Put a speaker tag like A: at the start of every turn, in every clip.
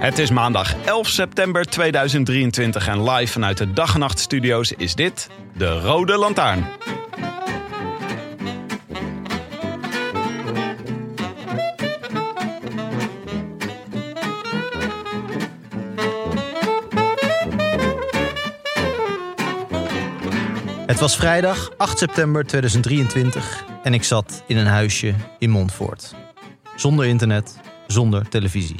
A: Het is maandag 11 september 2023 en live vanuit de dag en nacht studio's is dit de Rode Lantaarn.
B: Het was vrijdag 8 september 2023 en ik zat in een huisje in Montfort. Zonder internet, zonder televisie.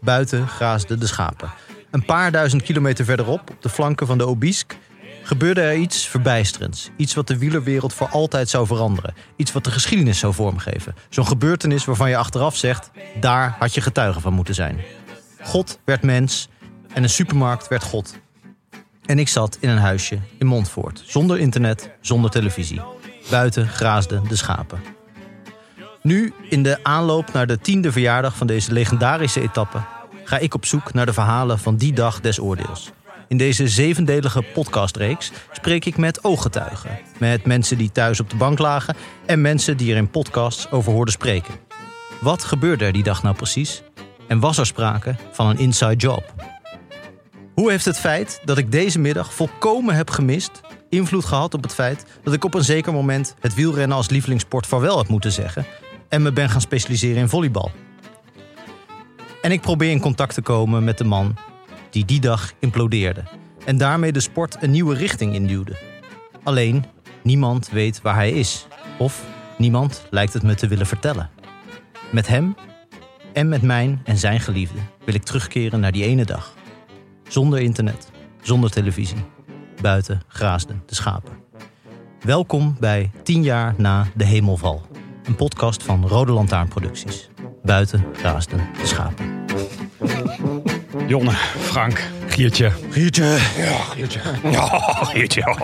B: Buiten graasden de schapen. Een paar duizend kilometer verderop, op de flanken van de Obisk, gebeurde er iets verbijsterends. Iets wat de wielerwereld voor altijd zou veranderen. Iets wat de geschiedenis zou vormgeven. Zo'n gebeurtenis waarvan je achteraf zegt: daar had je getuige van moeten zijn. God werd mens en een supermarkt werd God. En ik zat in een huisje in Montfort. Zonder internet, zonder televisie. Buiten graasden de schapen. Nu, in de aanloop naar de tiende verjaardag van deze legendarische etappe, ga ik op zoek naar de verhalen van die dag des oordeels. In deze zevendelige podcastreeks spreek ik met ooggetuigen. Met mensen die thuis op de bank lagen en mensen die er in podcasts over hoorden spreken. Wat gebeurde er die dag nou precies? En was er sprake van een inside job? Hoe heeft het feit dat ik deze middag volkomen heb gemist invloed gehad op het feit dat ik op een zeker moment het wielrennen als lievelingssport vaarwel heb moeten zeggen en me ben gaan specialiseren in volleybal? En ik probeer in contact te komen met de man die die dag implodeerde en daarmee de sport een nieuwe richting induwde. Alleen niemand weet waar hij is, of niemand lijkt het me te willen vertellen. Met hem en met mijn en zijn geliefde wil ik terugkeren naar die ene dag. Zonder internet, zonder televisie. Buiten graasden de schapen. Welkom bij 10 jaar na de hemelval. Een podcast van Rode Lantaarn Producties. Buiten graasden de schapen.
A: Jonne, Frank, Giertje. Giertje. Ja, Giertje.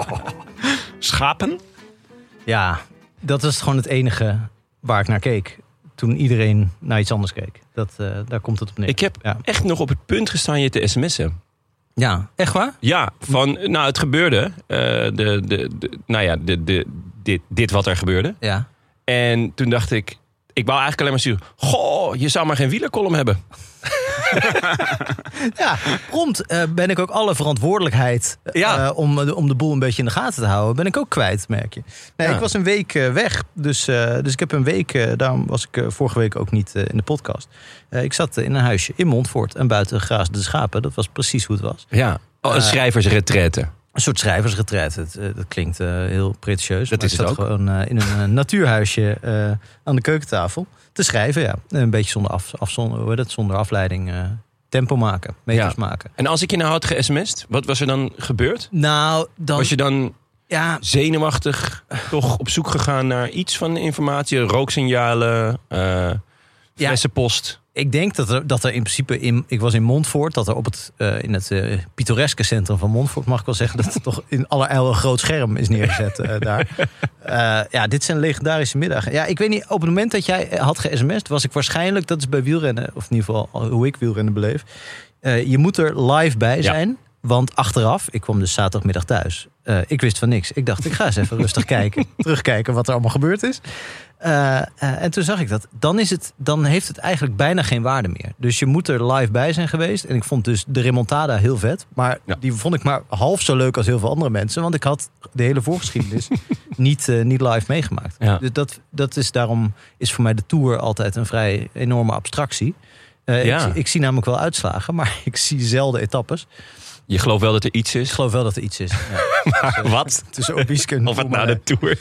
A: Schapen?
B: Ja, dat is gewoon het enige waar ik naar keek. Toen iedereen naar iets anders keek. Dat, eh, daar komt het op neer.
C: Ik heb
B: Ja.
C: echt nog op het punt gestaan je te sms'en.
B: ja, echt waar?
C: Ja, van, nou, het gebeurde. eh, de, de, de- nou ja, de, de, dit, dit wat er gebeurde.
B: Ja.
C: En toen dacht ik, ik wou eigenlijk alleen maar sturen. Goh, je zou maar geen wielercolumn hebben.
B: Ja, prompt eh, ben ik ook alle verantwoordelijkheid eh,
C: Ja.
B: eh, om, de- om de boel een beetje in de gaten te houden, ben ik ook kwijt, merk je. Nee,
C: Ja.
B: ik was een week eh, weg, dus, eh, dus ik heb een week, eh, daarom was ik eh, vorige week ook niet eh, in de podcast. Eh, ik zat eh, in een huisje in Montfort en buiten graasden de schapen, dat was precies hoe het was.
C: Ja, oh, een
B: Eh,
C: schrijversretraite.
B: Een soort schrijversretreat. Het, eh, dat klinkt eh, heel pretentieus.
C: Dat
B: maar
C: is
B: ik
C: het
B: zat
C: ook.
B: gewoon eh, in een eh, natuurhuisje eh, aan de keukentafel te schrijven. Ja. Een beetje zonder, af, af, zonder, hoe heet dat, zonder afleiding eh, tempo maken, meters maken.
C: En als ik je nou had ge-sms'd, wat was er dan gebeurd?
B: Nou, dan...
C: Was je dan
B: ja,
C: zenuwachtig toch op zoek gegaan naar iets van informatie? Rooksignalen, eh
B: Ja.
C: flessenpost.
B: ik denk dat er, dat er in principe in. Ik was in Montfort, dat er op het, eh, in het eh, pittoreske centrum van Montfort, mag ik wel zeggen, dat er toch in allerijl een groot scherm is neergezet eh, daar. Eh, ja, dit zijn legendarische middagen. Ja, ik weet niet, op het moment dat jij eh, had ge-sms'd, was ik waarschijnlijk, dat is bij wielrennen, of in ieder geval hoe ik wielrennen beleef, eh, je moet er live bij zijn. Want achteraf, ik kwam dus zaterdagmiddag thuis. Eh, ik wist van niks. Ik dacht, ik ga eens even rustig kijken. Terugkijken wat er allemaal gebeurd is. Eh, eh, en toen zag ik dat. Dan, is het, dan heeft het eigenlijk bijna geen waarde meer. Dus je moet er live bij zijn geweest. En ik vond dus de remontada heel vet. Maar
C: Ja.
B: die vond ik maar half zo leuk als heel veel andere mensen. Want ik had de hele voorgeschiedenis niet, eh, niet live meegemaakt.
C: Ja.
B: Dus dat, dat is daarom is voor mij de Tour altijd een vrij enorme abstractie. Eh, ik
C: Ja.
B: zie- ik zie namelijk wel uitslagen, maar ik zie zelden etappes.
C: Je gelooft wel dat er iets
B: Ik
C: is?
B: geloof wel dat er iets is.
C: Wat?
B: Tussen Obieske en
C: Of het na de
B: Roemer.
C: tour.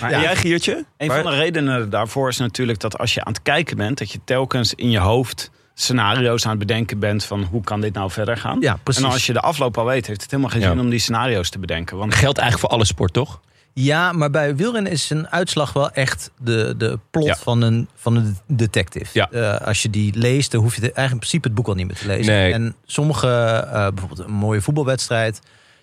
A: Maar
C: En
A: ja,
C: jij, Giertje?
A: een
C: Waar-
A: van de redenen daarvoor is natuurlijk dat als je aan het kijken bent, dat je telkens in je hoofd scenario's aan het bedenken bent van hoe kan dit nou verder gaan.
B: Ja, precies.
A: En als je de afloop al weet, heeft het helemaal geen
C: Ja.
A: zin om die scenario's te bedenken. Want
C: Geldt eigenlijk voor alle sport, toch?
B: Ja, maar bij wielrennen is een uitslag wel echt de, de plot
C: Ja.
B: van, een, van een detective.
C: Ja.
B: Eh, als je die leest, dan hoef je de, eigenlijk in principe het boek al niet meer te lezen.
C: Nee.
B: En sommige, eh, bijvoorbeeld een mooie voetbalwedstrijd,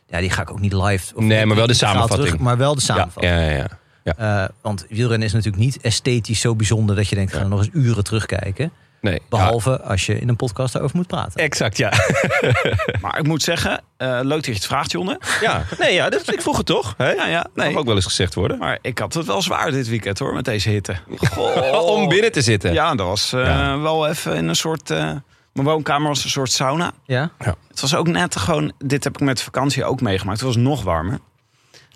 B: ja, die ga ik ook niet live. Of
C: Nee, maar wel de
B: integraal
C: samenvatting.
B: maar wel de
C: Ja,
B: samenvatting.
C: ja, ja. ja.
B: Eh, want wielrennen is natuurlijk niet esthetisch zo bijzonder dat je denkt, ga er nog eens uren terugkijken.
C: Nee.
B: Behalve als je in een podcast daarover moet praten.
C: Ja, exact, ja.
A: Maar ik moet zeggen, eh, leuk dat je het vraagt, Jonne.
C: ja. Nee, ja, dat, ik vroeg het toch? Hè?
A: Ja, ja,
C: Mag
A: nee.
C: ook wel eens gezegd worden.
A: Maar ik had het wel zwaar dit weekend hoor, met deze hitte.
B: Oh.
C: Om binnen te zitten.
A: Ja, dat was eh,
C: Ja.
A: wel even in een soort... eh, mijn woonkamer was een soort sauna.
B: Ja?
A: Het was ook net gewoon... Dit heb ik met vakantie ook meegemaakt. Het was nog warmer.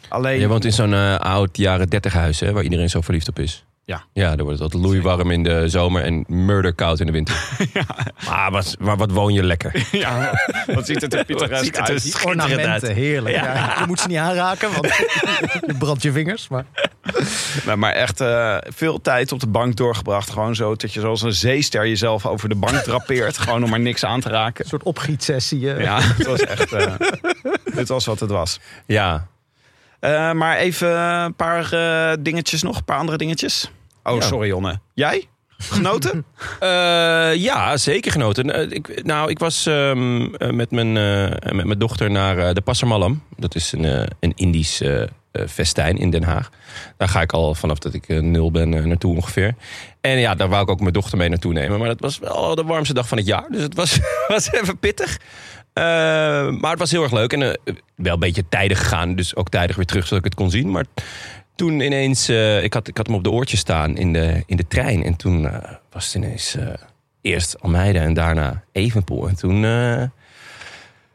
A: Alleen...
C: Je woont in zo'n eh, oud jaren 30 huis, hè, waar iedereen zo verliefd op is.
A: Ja.
C: Ja, dan wordt het altijd loeiwarm in de zomer en murder koud in de winter. Maar, wat, maar wat woon je lekker.
A: Ja, wat ziet het er
C: Wat
A: pittoresk
C: ziet het er
A: uit.
B: Ornamenten, Oh, nou, heerlijk. Ja. je moet ze niet aanraken, want je brandt je vingers. Maar...
A: Nee, maar echt eh, veel tijd op de bank doorgebracht. Gewoon zo dat je zoals een zeester jezelf over de bank drapeert. gewoon om maar niks aan te raken.
B: Een soort opgietsessie. eh.
A: Ja, het was echt... eh, dit was wat het was.
C: Ja.
A: Eh, maar even een paar eh, dingetjes nog. Een paar andere dingetjes. Oh,
C: Ja.
A: sorry Jonne. Jij? Genoten?
C: Eh, ja, zeker genoten. Eh, ik, nou, ik was ehm, eh, met, mijn, eh, met mijn dochter naar eh, de Passermalm. Dat is een, eh, een Indisch eh, eh, festijn in Den Haag. Daar ga ik al vanaf dat ik eh, nul ben eh, naartoe ongeveer. En ja, daar wou ik ook mijn dochter mee naartoe nemen. Maar dat was wel de warmste dag van het jaar. Dus het was, was even pittig. Eh, maar het was heel erg leuk. En eh, wel een beetje tijdig gegaan. Dus ook tijdig weer terug zodat ik het kon zien. Maar toen ineens... eh, ik, had, ik had hem op de oortjes staan in de, in de trein. En toen eh, was het ineens... eh, eerst Almeida en daarna Evenpoel. En toen... eh,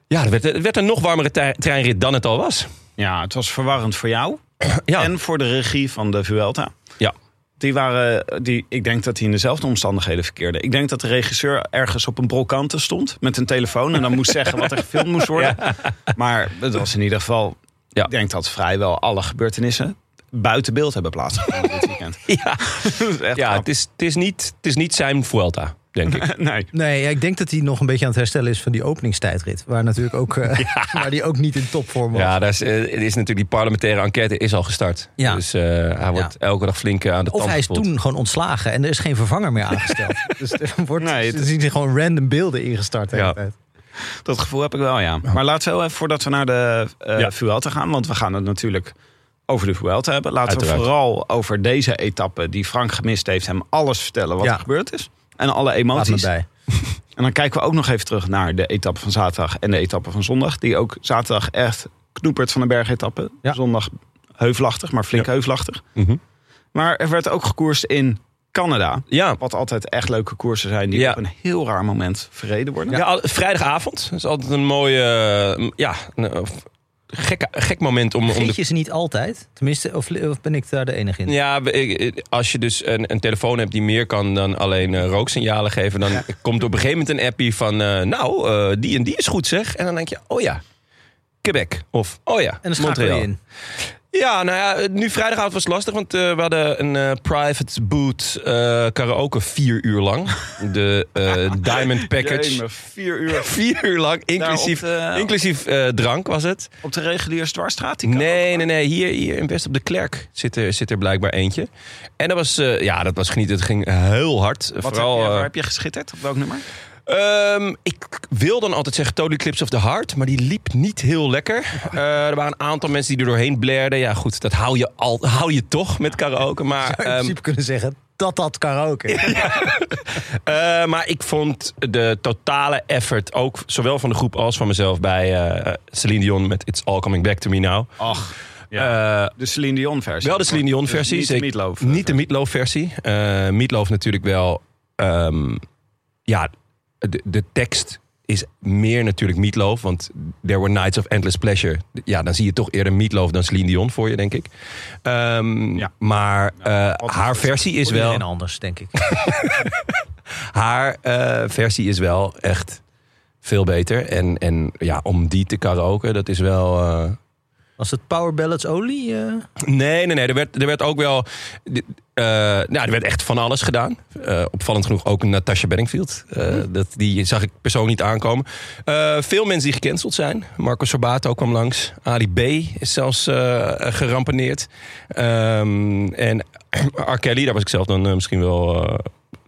C: ja, het werd, het werd een nog warmere tei- treinrit dan het al was.
A: Ja, het was verwarrend voor jou.
C: Ja,
A: En voor de regie van de Vuelta.
C: ja.
A: Die waren, die, ik denk dat hij in dezelfde omstandigheden verkeerde. Ik denk dat de regisseur ergens op een brokante stond met een telefoon. En dan moest zeggen wat er gefilmd moest worden. Maar het was in ieder geval,
C: Ja.
A: ik denk dat vrijwel alle gebeurtenissen buiten beeld hebben plaatsgevonden dit weekend.
C: ja.
A: Dat is echt
C: ja
A: knap.
C: het, is, het, is niet, het is niet zijn Vuelta, denk ik.
A: Nee.
B: Nee, ja, ik denk dat hij nog een beetje aan het herstellen is van die openingstijdrit. Waar natuurlijk ook, eh, waar die ook niet in topvorm was.
C: Ja, daar is, eh, het is natuurlijk die parlementaire enquête is al gestart.
B: Ja.
C: Dus eh, hij wordt elke dag flink eh, aan de
B: Of
C: tand
B: hij is
C: gevoeld.
B: toen gewoon ontslagen en er is geen vervanger meer aangesteld. dus er wordt,
A: Nee,
B: ze
A: het-
B: zien er gewoon random beelden ingestart. De hele
C: Ja.
B: tijd.
A: Dat gevoel heb ik wel, ja. Maar laten we wel even, voordat we naar de eh
C: Ja.
A: Vuelta gaan... want we gaan het natuurlijk over de Vuelta hebben. Laten we
C: Uiteraard.
A: vooral over deze etappe die Frank gemist heeft... hem alles vertellen wat
B: Ja.
A: er gebeurd is. En alle
B: Laat me
A: emoties.
B: bij.
A: En dan kijken we ook nog even terug naar de etappe van zaterdag... en de etappe van zondag. Die ook zaterdag echt knoepert van de bergetappe.
B: Ja.
A: Zondag heuvelachtig, maar flink heuvelachtig.
C: Mhm.
A: Maar er werd ook gekoerst in Canada.
C: Ja.
A: Wat altijd echt leuke koersen zijn... die
C: Ja.
A: op een heel raar moment verreden worden.
C: Ja. al- vrijdagavond is altijd een mooie... eh, ja, een, eh, gek, gek moment om, om de
B: Vergeet je ze niet altijd? Tenminste, of, of ben ik daar de enige in?
C: Ja, we- ik- ik- als je dus een, een telefoon hebt die meer kan dan alleen eh, rooksignalen geven, dan komt op een gegeven moment een appie van, eh, nou, eh, die en die is goed zeg. En dan denk je, oh ja, Quebec. Of, oh ja,
B: En dan schakel je
C: Montreal.
B: in.
C: Ja, nou ja, nu vrijdagavond was het lastig, want eh, we hadden een eh, private boot eh, karaoke vier uur lang. De eh, Diamond Package.
A: Jemig, vier uur
C: Vier uur lang,
B: Nou,
C: inclusief,
A: Daar op de-
C: inclusief eh, drank was het.
A: op de reguliere dwarsstraat. die kan
C: Nee, nee, nee. Hier, hier in West op de Klerk zit er, zit er blijkbaar eentje. En dat was, eh, ja, dat was genieten. Het ging heel hard.
A: Wat
C: Vooral,
A: heb je, waar
C: eh,
A: heb je geschitterd? Op welk nummer?
C: ehm, ik wil dan altijd zeggen Total Clips of the Heart. Maar die liep niet heel lekker. Eh, er waren een aantal mensen die er doorheen blerden. Ja, goed, dat hou je, al, hou je toch met karaoke. Maar,
B: Zou je in
C: ehm,
B: principe kunnen zeggen dat dat karaoke. is.
C: Eh, maar ik vond de totale effort, ook zowel van de groep als van mezelf, bij eh, Celine Dion met It's All Coming Back to Me Now.
A: Ach,
C: Eh,
A: de Celine Dion versie.
C: Wel de Celine Dion versie.
A: Dus niet de
C: zeker-
A: Meatloaf.
C: Niet de Meatloaf versie. Eh Meatloaf natuurlijk wel... ehm, ja, de, de tekst is meer natuurlijk Meatloaf. Want There Were Nights of Endless Pleasure. Ja, dan zie je toch eerder Meatloaf dan Celine Dion voor je, denk ik. Ehm,
A: Ja.
C: Maar eh, haar versie is
B: Voor
C: wel...
B: iedereen anders, denk ik.
C: Haar eh, versie is wel echt veel beter. En, en ja, om die te karaoke, dat is wel... eh,
B: Was het Power Ballads Olie? eh?
C: Nee, nee, nee. Er werd, er werd ook wel. di- eh, nou, er werd echt van alles gedaan. Eh, opvallend genoeg ook Natasha Bedingfield. Eh, dat, die zag ik persoonlijk niet aankomen. Eh, veel mensen die gecanceld zijn. Marco Sorbato kwam langs. Ali B is zelfs eh geramponeerd. Ehm, en R. Kelly, daar was ik zelf dan eh, misschien wel eh,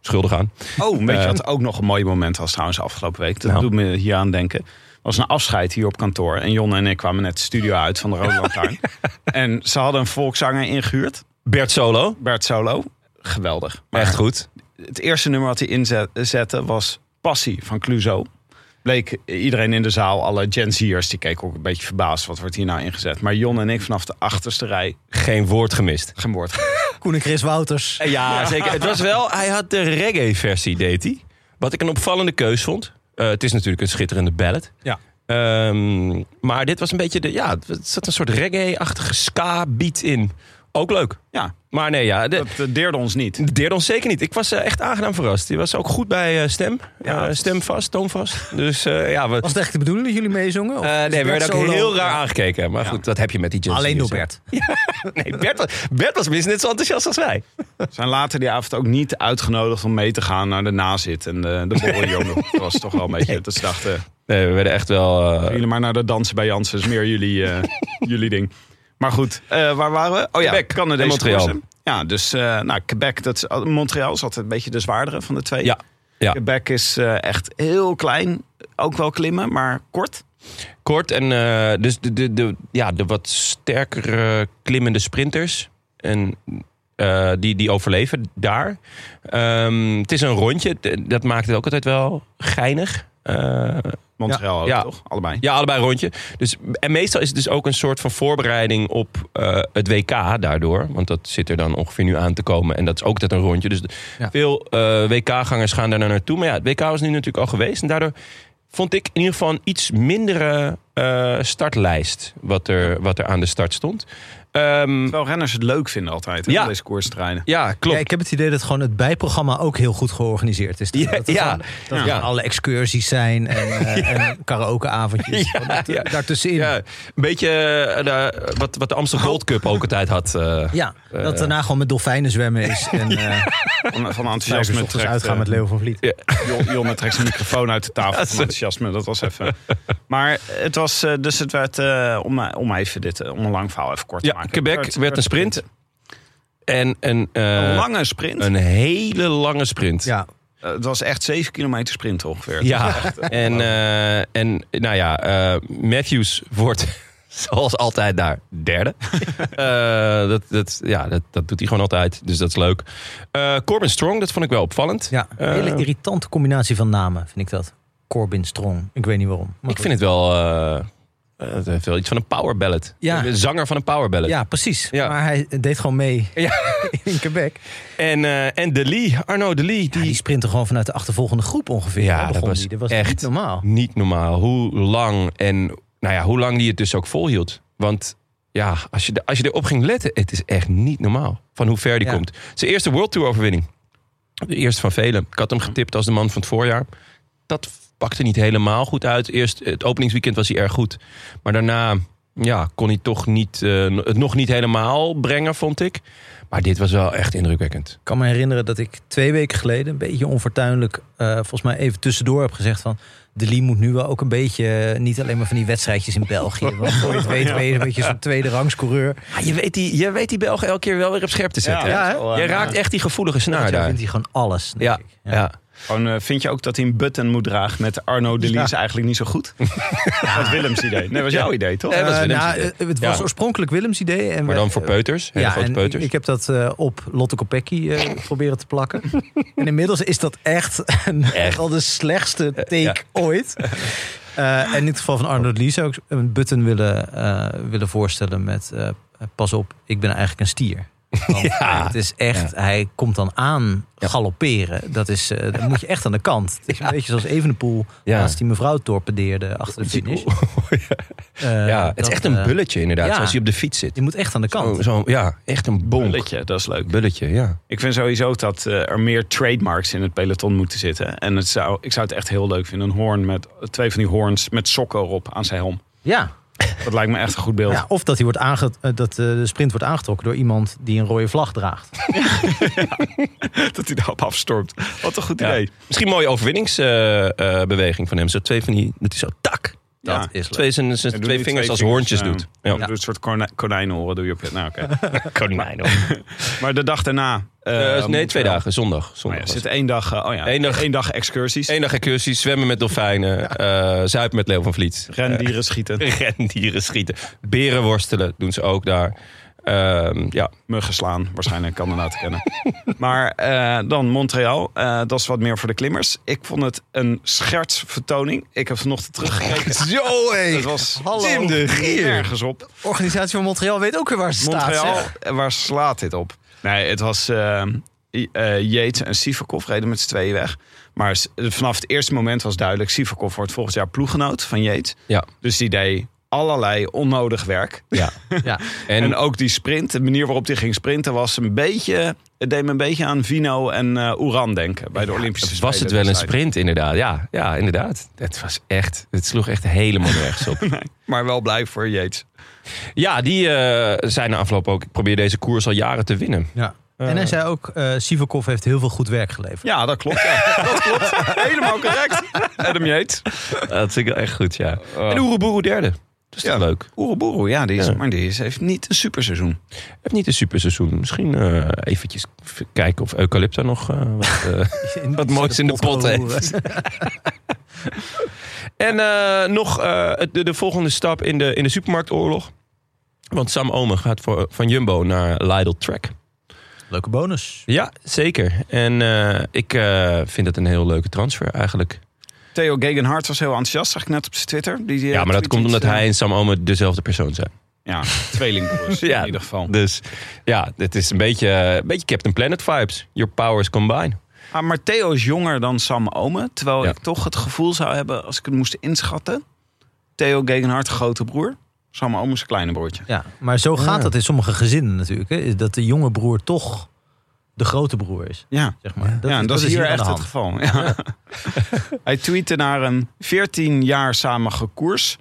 C: schuldig aan.
A: Oh, weet
C: Eh.
A: je wat ook nog een mooi moment was trouwens afgelopen week? Dat
C: Nou.
A: doet me hier aan denken. was een afscheid hier op kantoor. En Jon en ik kwamen net de studio uit van de Rode Lantaarn. En ze hadden een volkszanger ingehuurd.
C: Bert Solo.
A: Bert Solo. Geweldig. Maar
C: Echt goed.
A: het eerste nummer wat hij inzette was Passie van Cluzo. Bleek iedereen in de zaal, alle Gen Z'ers, die keken ook een beetje verbaasd. Wat wordt hier nou ingezet? Maar Jon en ik vanaf de achterste rij,
C: Geen woord gemist.
A: geen woord.
B: Koen en Chris Wouters.
C: Ja, zeker. Het was wel, hij had de reggae-versie, deed hij. Wat ik een opvallende keus vond. Eh, het is natuurlijk een schitterende ballad.
B: Ja.
C: Ehm, maar dit was een beetje de. Ja, het zat een soort reggae-achtige ska-beat in. Ook leuk.
A: Ja,
C: Maar nee, ja. De,
A: dat eh, deerde ons niet.
C: het deerde ons zeker niet. Ik was eh, echt aangenaam verrast. Die was ook goed bij eh, stem.
A: Ja.
C: Eh, stem vast, toon vast. Dus eh, ja, we,
B: Was het echt de bedoeling dat jullie meezongen? Of
C: eh,
B: is
C: nee, we
B: Bert
C: werden ook
B: Solo-
C: heel raar aangekeken. Maar goed, dat heb je met die Gen
B: Alleen door
C: Z'ers.
B: Bert.
C: Nee, Bert, was- Bert was minstens net zo enthousiast als wij.
A: Zijn later die avond ook niet uitgenodigd om mee te gaan naar de nazit. En de, de borreljongen Dat was toch wel een beetje... Dat ze dachten,
C: Nee, we werden echt wel. eh,
A: jullie maar naar de dansen bij Janssen. is meer jullie, eh, jullie ding. Maar goed, eh, waar waren we? Oh ja,
C: Quebec
A: Canadese
C: en Montreal.
A: koersen. Ja, dus eh, nou, Quebec, dat is, Montreal is altijd een beetje de zwaardere van de twee.
C: ja. ja.
A: Quebec is eh, echt heel klein. Ook wel klimmen, maar kort.
C: Kort en eh, dus de, de, de, ja, de wat sterkere klimmende sprinters. En eh, die, die overleven daar. Ehm, het is een rondje. D- Dat maakt het ook altijd wel geinig. Eh,
A: Montreal ook,
C: Ja.
A: toch? Allebei.
C: ja, allebei een rondje. Dus, en meestal is het dus ook een soort van voorbereiding op eh, het WK daardoor. Want dat zit er dan ongeveer nu aan te komen. En dat is ook altijd een rondje. Dus de-
B: Ja.
C: veel eh, WK-gangers gaan daar nou naartoe. Maar ja, het WK was nu natuurlijk al geweest. En daardoor vond ik in ieder geval een iets mindere eh, startlijst. Wat er, wat er aan de start stond. Ehm,
A: Terwijl renners het leuk vinden altijd, hè,
C: Ja.
A: om deze koersterreinen.
C: ja,
B: Ja,
C: klopt.
B: ik heb het idee dat gewoon het bijprogramma ook heel goed georganiseerd is. Dat,
C: Ja,
B: dat er
C: ja.
B: gewoon- dat er
C: Ja.
B: alle excursies zijn en, eh, en karaokeavondjes.
C: Ja,
B: Dat-
C: ja.
B: Daartussenin.
C: Ja,
B: Ja,
C: een beetje eh, de- wat, wat de Amsterdam Gold Cup ook altijd had. eh.
B: dat daarna gewoon met dolfijnen zwemmen is. En eh
A: Van, van
B: vijf uur 's
A: enthousiasme
B: ochtends
A: trekt,
B: uitgaan
A: eh,
B: met Leo van Vliet.
A: Jon- Jonne trekt zijn microfoon uit de tafel van enthousiasme. Dat was even. Maar het was, eh, dus het werd, eh, om, om even dit, eh, om een lang verhaal even kort te
C: Ja,
A: maken.
C: Quebec werd, een sprint. En een, eh,
A: Een lange sprint.
C: een hele lange sprint.
B: Ja,
A: Eh, het was echt 7 kilometer sprint ongeveer.
C: Ja. En, eh, en nou ja, eh, Matthews wordt zoals altijd daar derde. Eh, dat, dat, ja, dat, dat doet hij gewoon altijd, dus dat is leuk. Eh, Corbin Strong, dat vond ik wel opvallend.
B: ja. Een
C: Eh,
B: hele irritante combinatie van namen, vind ik dat. Corbin Strong. Ik weet niet waarom. Maar
C: ik vind het wel, eh, eh, het heeft wel iets van een power ballad.
B: Ja.
C: Een zanger van een power ballad.
B: Ja, precies.
C: Ja.
B: Maar hij deed gewoon mee
C: Ja.
B: in Quebec.
C: En, eh en De Lee, Arno De Lee,
B: Ja, die
C: die
B: sprintte gewoon vanuit de achtervolgende groep ongeveer.
C: Ja,
B: Daar
C: dat
B: begon
C: was
B: die. dat was
C: echt
B: niet normaal.
C: niet normaal. Hoe lang en nou ja, hoe lang die het dus ook volhield. Want ja, als je, de- als je erop ging letten, het is echt niet normaal van hoe ver die
B: Ja.
C: komt. Zijn eerste World Tour overwinning. De eerste van velen. Ik had hem getipt als de man van het voorjaar. Dat pakte niet helemaal goed uit. Eerst het openingsweekend was hij erg goed. Maar daarna ja, kon hij toch niet, eh, het nog niet helemaal brengen, vond ik. Maar dit was wel echt indrukwekkend.
B: Ik kan me herinneren dat ik twee weken geleden, een beetje onfortuinlijk, eh, volgens mij even tussendoor heb gezegd van. De Lee moet nu wel ook een beetje, eh, niet alleen maar van die wedstrijdjes in België. Want voor je het weet ben je een beetje zo'n tweede rangscoureur.
C: Ah, je, weet die, je weet die Belgen elke keer wel weer op scherp te zetten.
B: Ja,
C: hè?
B: hè?
C: Jij raakt echt die gevoelige snaar
B: Nou, daar
C: daar.
B: vindt eh, hij gewoon alles. denk
C: Ja,
B: ik.
C: ja.
A: Gewoon, eh, vind je ook dat hij een button moet dragen met Arno de Lies eigenlijk niet zo goed? Dat is Willems idee. Nee, dat was jouw idee, toch?
C: Nee, dat was
B: Eh,
C: Willems
B: nou,
C: idee.
B: eh, het was
C: Ja.
B: oorspronkelijk Willems idee. En
C: Maar
B: we-
C: dan voor peuters, hele
B: ja,
C: grote
B: en
C: peuters.
B: Ik, ik heb dat eh, op Lotte Kopecky eh, proberen te plakken. en inmiddels is dat echt, een-
C: Echt.
B: al de slechtste take ooit. Eh, en in het geval van Arnold Lee zou ik een button willen, eh, willen voorstellen met... eh, pas op, ik ben eigenlijk een stier. Want Het is echt, hij komt dan aan galopperen. Dat is, eh, dan moet je echt aan de kant. Het is een beetje zoals Evenepoel
C: Ja. Oh,
B: als die mevrouw torpedeerde achter de finish. Eh,
C: ja, het
B: dat,
C: is echt een
B: eh,
C: bulletje inderdaad,
B: ja.
C: als hij op de fiets zit.
B: Je moet echt aan de kant.
C: Zo, zo- ja, echt een bonk. Bulletje,
A: Bulletje, dat is leuk.
C: ja.
A: Ik vind sowieso dat eh, er meer trademarks in het peloton moeten zitten. En het zou, ik zou het echt heel leuk vinden. Een hoorn met twee van die hoorns met sokken erop aan zijn helm.
B: Ja,
A: Dat lijkt me echt een goed beeld.
B: Ja, of dat, hij wordt aange- eh, dat eh, de sprint wordt aangetrokken door iemand die een rode vlag draagt.
A: Dat hij daarop afstormt. Wat een goed
C: Ja.
A: idee.
C: Misschien een mooie overwinningsbeweging van hem. Zo twee van die, dat hij zo tak.
A: Ja.
C: Dat is twee, zijn, zijn
A: Hij doet
C: twee
A: nu
C: vingers als
A: vingers, eh,
C: hoortjes
A: ja.
C: doet.
A: Hij
C: Ja.
A: doet Een soort korna- konijnenoren doe je op je... Nou, oké.
C: Konijn.
A: maar de dag daarna... eh,
C: Eh, nee,
A: moet
C: twee
A: wel.
C: dagen. Zondag.
A: Maar Oh ja,
C: zondag
A: er
C: was
A: zit één dag... eh, oh ja,
C: Eén
A: één
C: dag-
A: dag, excursies.
C: Eén dag excursie, zwemmen met dolfijnen, eh, zuipen met Leo van Vliet.
A: Rendieren schieten.
C: Eh, rendieren schieten. Beren worstelen doen ze ook daar. Ehm, ja,
A: muggen slaan. Waarschijnlijk kan ernaar te kennen. Maar eh, dan Montreal. Eh, dat is wat meer voor de klimmers. Ik vond het een schertsvertoning. Ik heb vanochtend teruggekeken.
B: Zo hé!
A: Het was
B: Hallo.
A: Tim de Gier. Ergens op.
B: organisatie van Montreal weet ook weer waar ze
A: Montreal,
B: staat. zeg.
A: eh, waar slaat dit op? Nee, het was eh, I- eh, Yates en Sivakov reden met z'n tweeën weg. Maar s- vanaf het eerste moment was duidelijk... Sivakov wordt volgend jaar ploeggenoot van Yates.
C: ja,
A: Dus die deed allerlei onnodig werk.
C: ja.
B: Ja.
C: En,
A: En, ook die sprint, de manier waarop hij ging sprinten, was een beetje. Het deed me een beetje aan Vino en eh Oeran denken bij de Olympische Spelen.
C: was het wel een
A: destijds.
C: sprint inderdaad. Ja, ja inderdaad. Het was echt, het sloeg echt helemaal nergens op.
A: Maar wel blij voor Yates.
C: Ja, die eh, zei na afloop ook, ik probeer deze koers al jaren te winnen.
B: Ja. En hij zei ook, eh Sivakov heeft heel veel goed werk geleverd.
A: Ja, dat klopt. Ja. dat klopt. Helemaal correct. Adam Yates.
C: Dat vind ik wel echt goed, ja. Oh. En Oeroboeroe derde. Dat is toch
A: Ja.
C: leuk.
A: Oeroboeroe, ja, die is,
C: Ja.
A: maar die is, heeft niet een superseizoen.
C: Heb niet een superseizoen. Misschien eh, eventjes v- kijken of Eucalypta nog eh, wat, eh, wat moois in de pot heeft. En eh, nog eh, het- de, de volgende stap in de, in de supermarktoorlog. Want Sam Omen gaat voor, van Jumbo naar Lidl Track.
B: Leuke bonus.
C: Ja, zeker. En eh, ik eh, vind het een heel leuke transfer eigenlijk.
A: Theo Gegenhardt was heel enthousiast, zag ik net op zijn Twitter. Die, eh,
C: Ja, maar dat
A: tweet
C: komt
A: iets,
C: omdat
A: eh,
C: hij en Sam Omen dezelfde persoon zijn.
A: Ja, tweelingbroers
C: Ja.
A: in ieder geval.
C: Dus ja, het is een beetje, een beetje Captain Planet vibes. Your powers combine.
A: Ah, maar Theo is jonger dan Sam Ome. Terwijl
C: Ja.
A: ik toch het gevoel zou hebben, als ik het moest inschatten... Theo Gegenhardt, grote broer. Sam Ome is kleine broertje.
B: Ja, maar zo gaat dat in sommige gezinnen natuurlijk. Hè? is Dat de jonge broer toch de grote broer is.
A: Ja,
B: Zeg maar.
A: ja en dat, is hier
B: aan de
A: echt het
B: hand.
A: geval. Ja. Hij tweette naar een 14 jaar samen gekoers.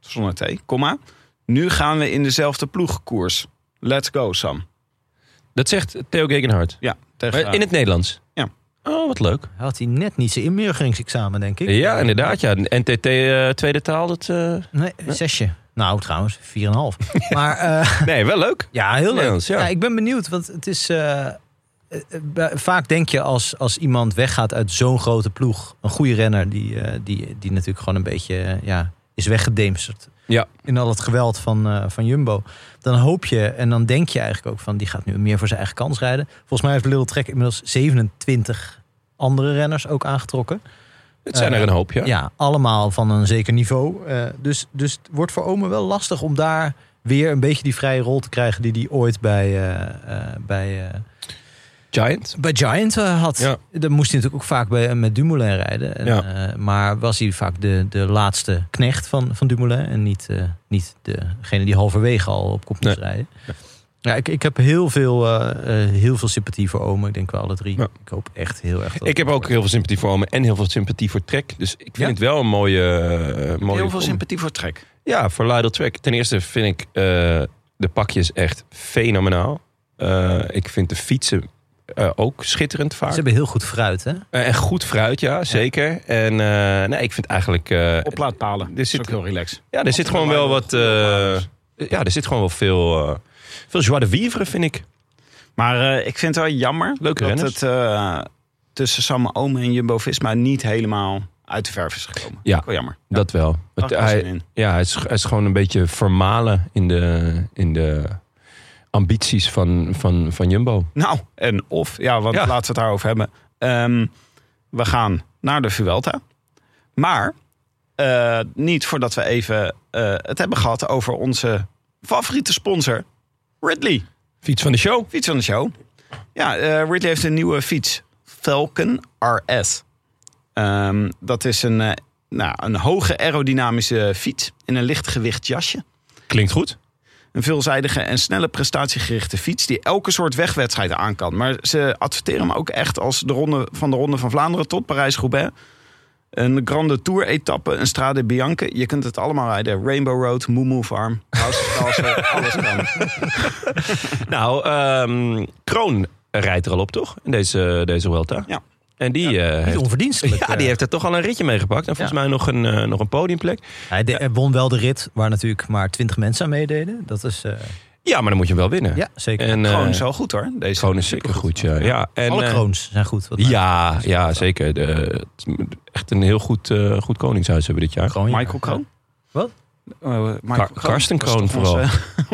A: Zonder T, komma. Nu gaan we in dezelfde ploeg koers. Let's go, Sam.
C: Dat zegt Theo Gegenhardt.
A: Ja,
C: Maar
A: tegen...
C: In het Nederlands?
A: Ja.
C: Oh, wat leuk.
B: Hij Had hij net niet zijn inburgeringsexamen, denk ik?
C: Ja, inderdaad. Ja. NTT eh, tweede taal. Dat, eh,
B: Nee, zesje. Nou, trouwens, 4,5. maar eh,
C: Nee, wel leuk.
B: ja, heel leuk.
C: Nederlands, ja.
B: Ja. ik ben benieuwd, want het is... eh, eh, eh, bij- Vaak denk je als, als iemand weggaat uit zo'n grote ploeg, een goede renner, die, eh, die, die natuurlijk gewoon een beetje eh, ja, is weggedemsterd
C: Ja.
B: in al het geweld van, eh, van Jumbo. Dan hoop je en dan denk je eigenlijk ook van die gaat nu meer voor zijn eigen kans rijden. Volgens mij heeft Little Trek inmiddels 27 andere renners ook aangetrokken.
C: Het zijn
B: Eh,
C: er een hoop, ja.
B: Ja, allemaal van een zeker niveau. Eh, dus, dus het wordt voor Omen wel lastig om daar weer een beetje die vrije rol te krijgen die hij ooit bij, eh, eh, bij, eh,
C: Giant.
B: bij Giant eh, had.
C: Ja.
B: Dan moest hij natuurlijk ook vaak bij, eh, met Dumoulin rijden. En,
C: Ja.
B: eh, maar was hij vaak de, de laatste knecht van, van Dumoulin. En niet, eh, niet degene die halverwege al op kop moest
C: Nee.
B: rijden. Ja, ik, ik heb heel veel, eh, eh, heel veel sympathie voor Omen. Ik denk wel alle drie.
C: Ja.
B: Ik hoop echt heel erg. dat-
C: Ik heb ook heel veel sympathie voor Omen en heel veel sympathie voor Trek. Dus ik vind
B: Ja?
C: het wel een mooie... eh, mooie
A: Heel veel
C: kom-
A: sympathie voor Trek.
C: Ja, voor Lidl Trek. Ten eerste vind ik eh, de pakjes echt fenomenaal. Eh, ik vind de fietsen eh, ook schitterend vaak.
B: Ze hebben heel goed fruit, hè?
C: Eh, en goed fruit, ja, zeker. En eh, nee, ik vind eigenlijk... eh,
A: Oplaadpalen.
C: Er
A: Dit
C: zit-
A: is ook heel relaxed.
C: ja, er zit gewoon wel wat... eh, ja, er zit gewoon wel veel... eh, veel joie de vivre, vind ik.
A: Maar eh, ik vind het wel jammer
C: Leuke
A: dat
C: renners.
A: het eh, tussen Sam Omen en Jumbo-Visma niet helemaal uit de verf is gekomen.
C: Ja.
A: Ook wel jammer.
C: Dat wel.
A: Had ik
C: Het-
A: wel
C: hij,
A: zin in.
C: Ja, hij is, hij is gewoon een beetje vermalen in de, in de ambities van, van, van Jumbo.
A: Nou, en of, ja, want
C: Ja.
A: laten we het daarover hebben. Ehm, we gaan naar de Vuelta. Maar eh, niet voordat we even eh, het hebben gehad over onze favoriete sponsor, Ridley.
C: Fiets van de show.
A: Fiets van de show. Ja, eh, Ridley heeft een nieuwe fiets. Falcon RS. Ehm, dat is een, eh, nou, een hoge aerodynamische fiets in een lichtgewicht jasje.
C: Klinkt goed.
A: Een veelzijdige en snelle prestatiegerichte fiets die elke soort wegwedstrijd aan kan. Maar ze adverteren hem ook echt als de ronde van de Ronde van Vlaanderen tot Parijs-Roubaix. Een Grande Tour etappe, een Strade Bianca. Je kunt het allemaal rijden. Rainbow Road, Moomoo Farm, House of Castle, alles kan.
C: Nou, ehm, Kroon rijdt er al op, toch? In deze, deze Welta.
A: Ja.
C: En die, eh,
B: Niet
C: heeft,
B: onverdienstelijk. eh,
C: ja, die heeft er toch al een ritje mee gepakt. En volgens mij nog een, eh, nog een podiumplek.
B: Hij de- hij won wel de rit waar natuurlijk maar 20 mensen aan meededen. Dat is, eh,
C: Ja, maar dan moet je hem wel winnen.
B: ja, zeker.
C: En,
A: Gewoon
C: eh,
A: zo goed hoor. Deze
C: Kroon is zeker goed, ja. ja en,
B: Alle
C: eh,
B: kroons zijn goed. wat mij
C: ja, ja, zeker. De, het- echt een heel goed, eh, goed koningshuis hebben dit jaar.
B: Kroon, ja.
A: Michael Kroon.
B: Wat?
A: Eh, Michael
C: Kar- Karsten
A: Dat is
C: Kroon
A: toch onze-
C: vooral.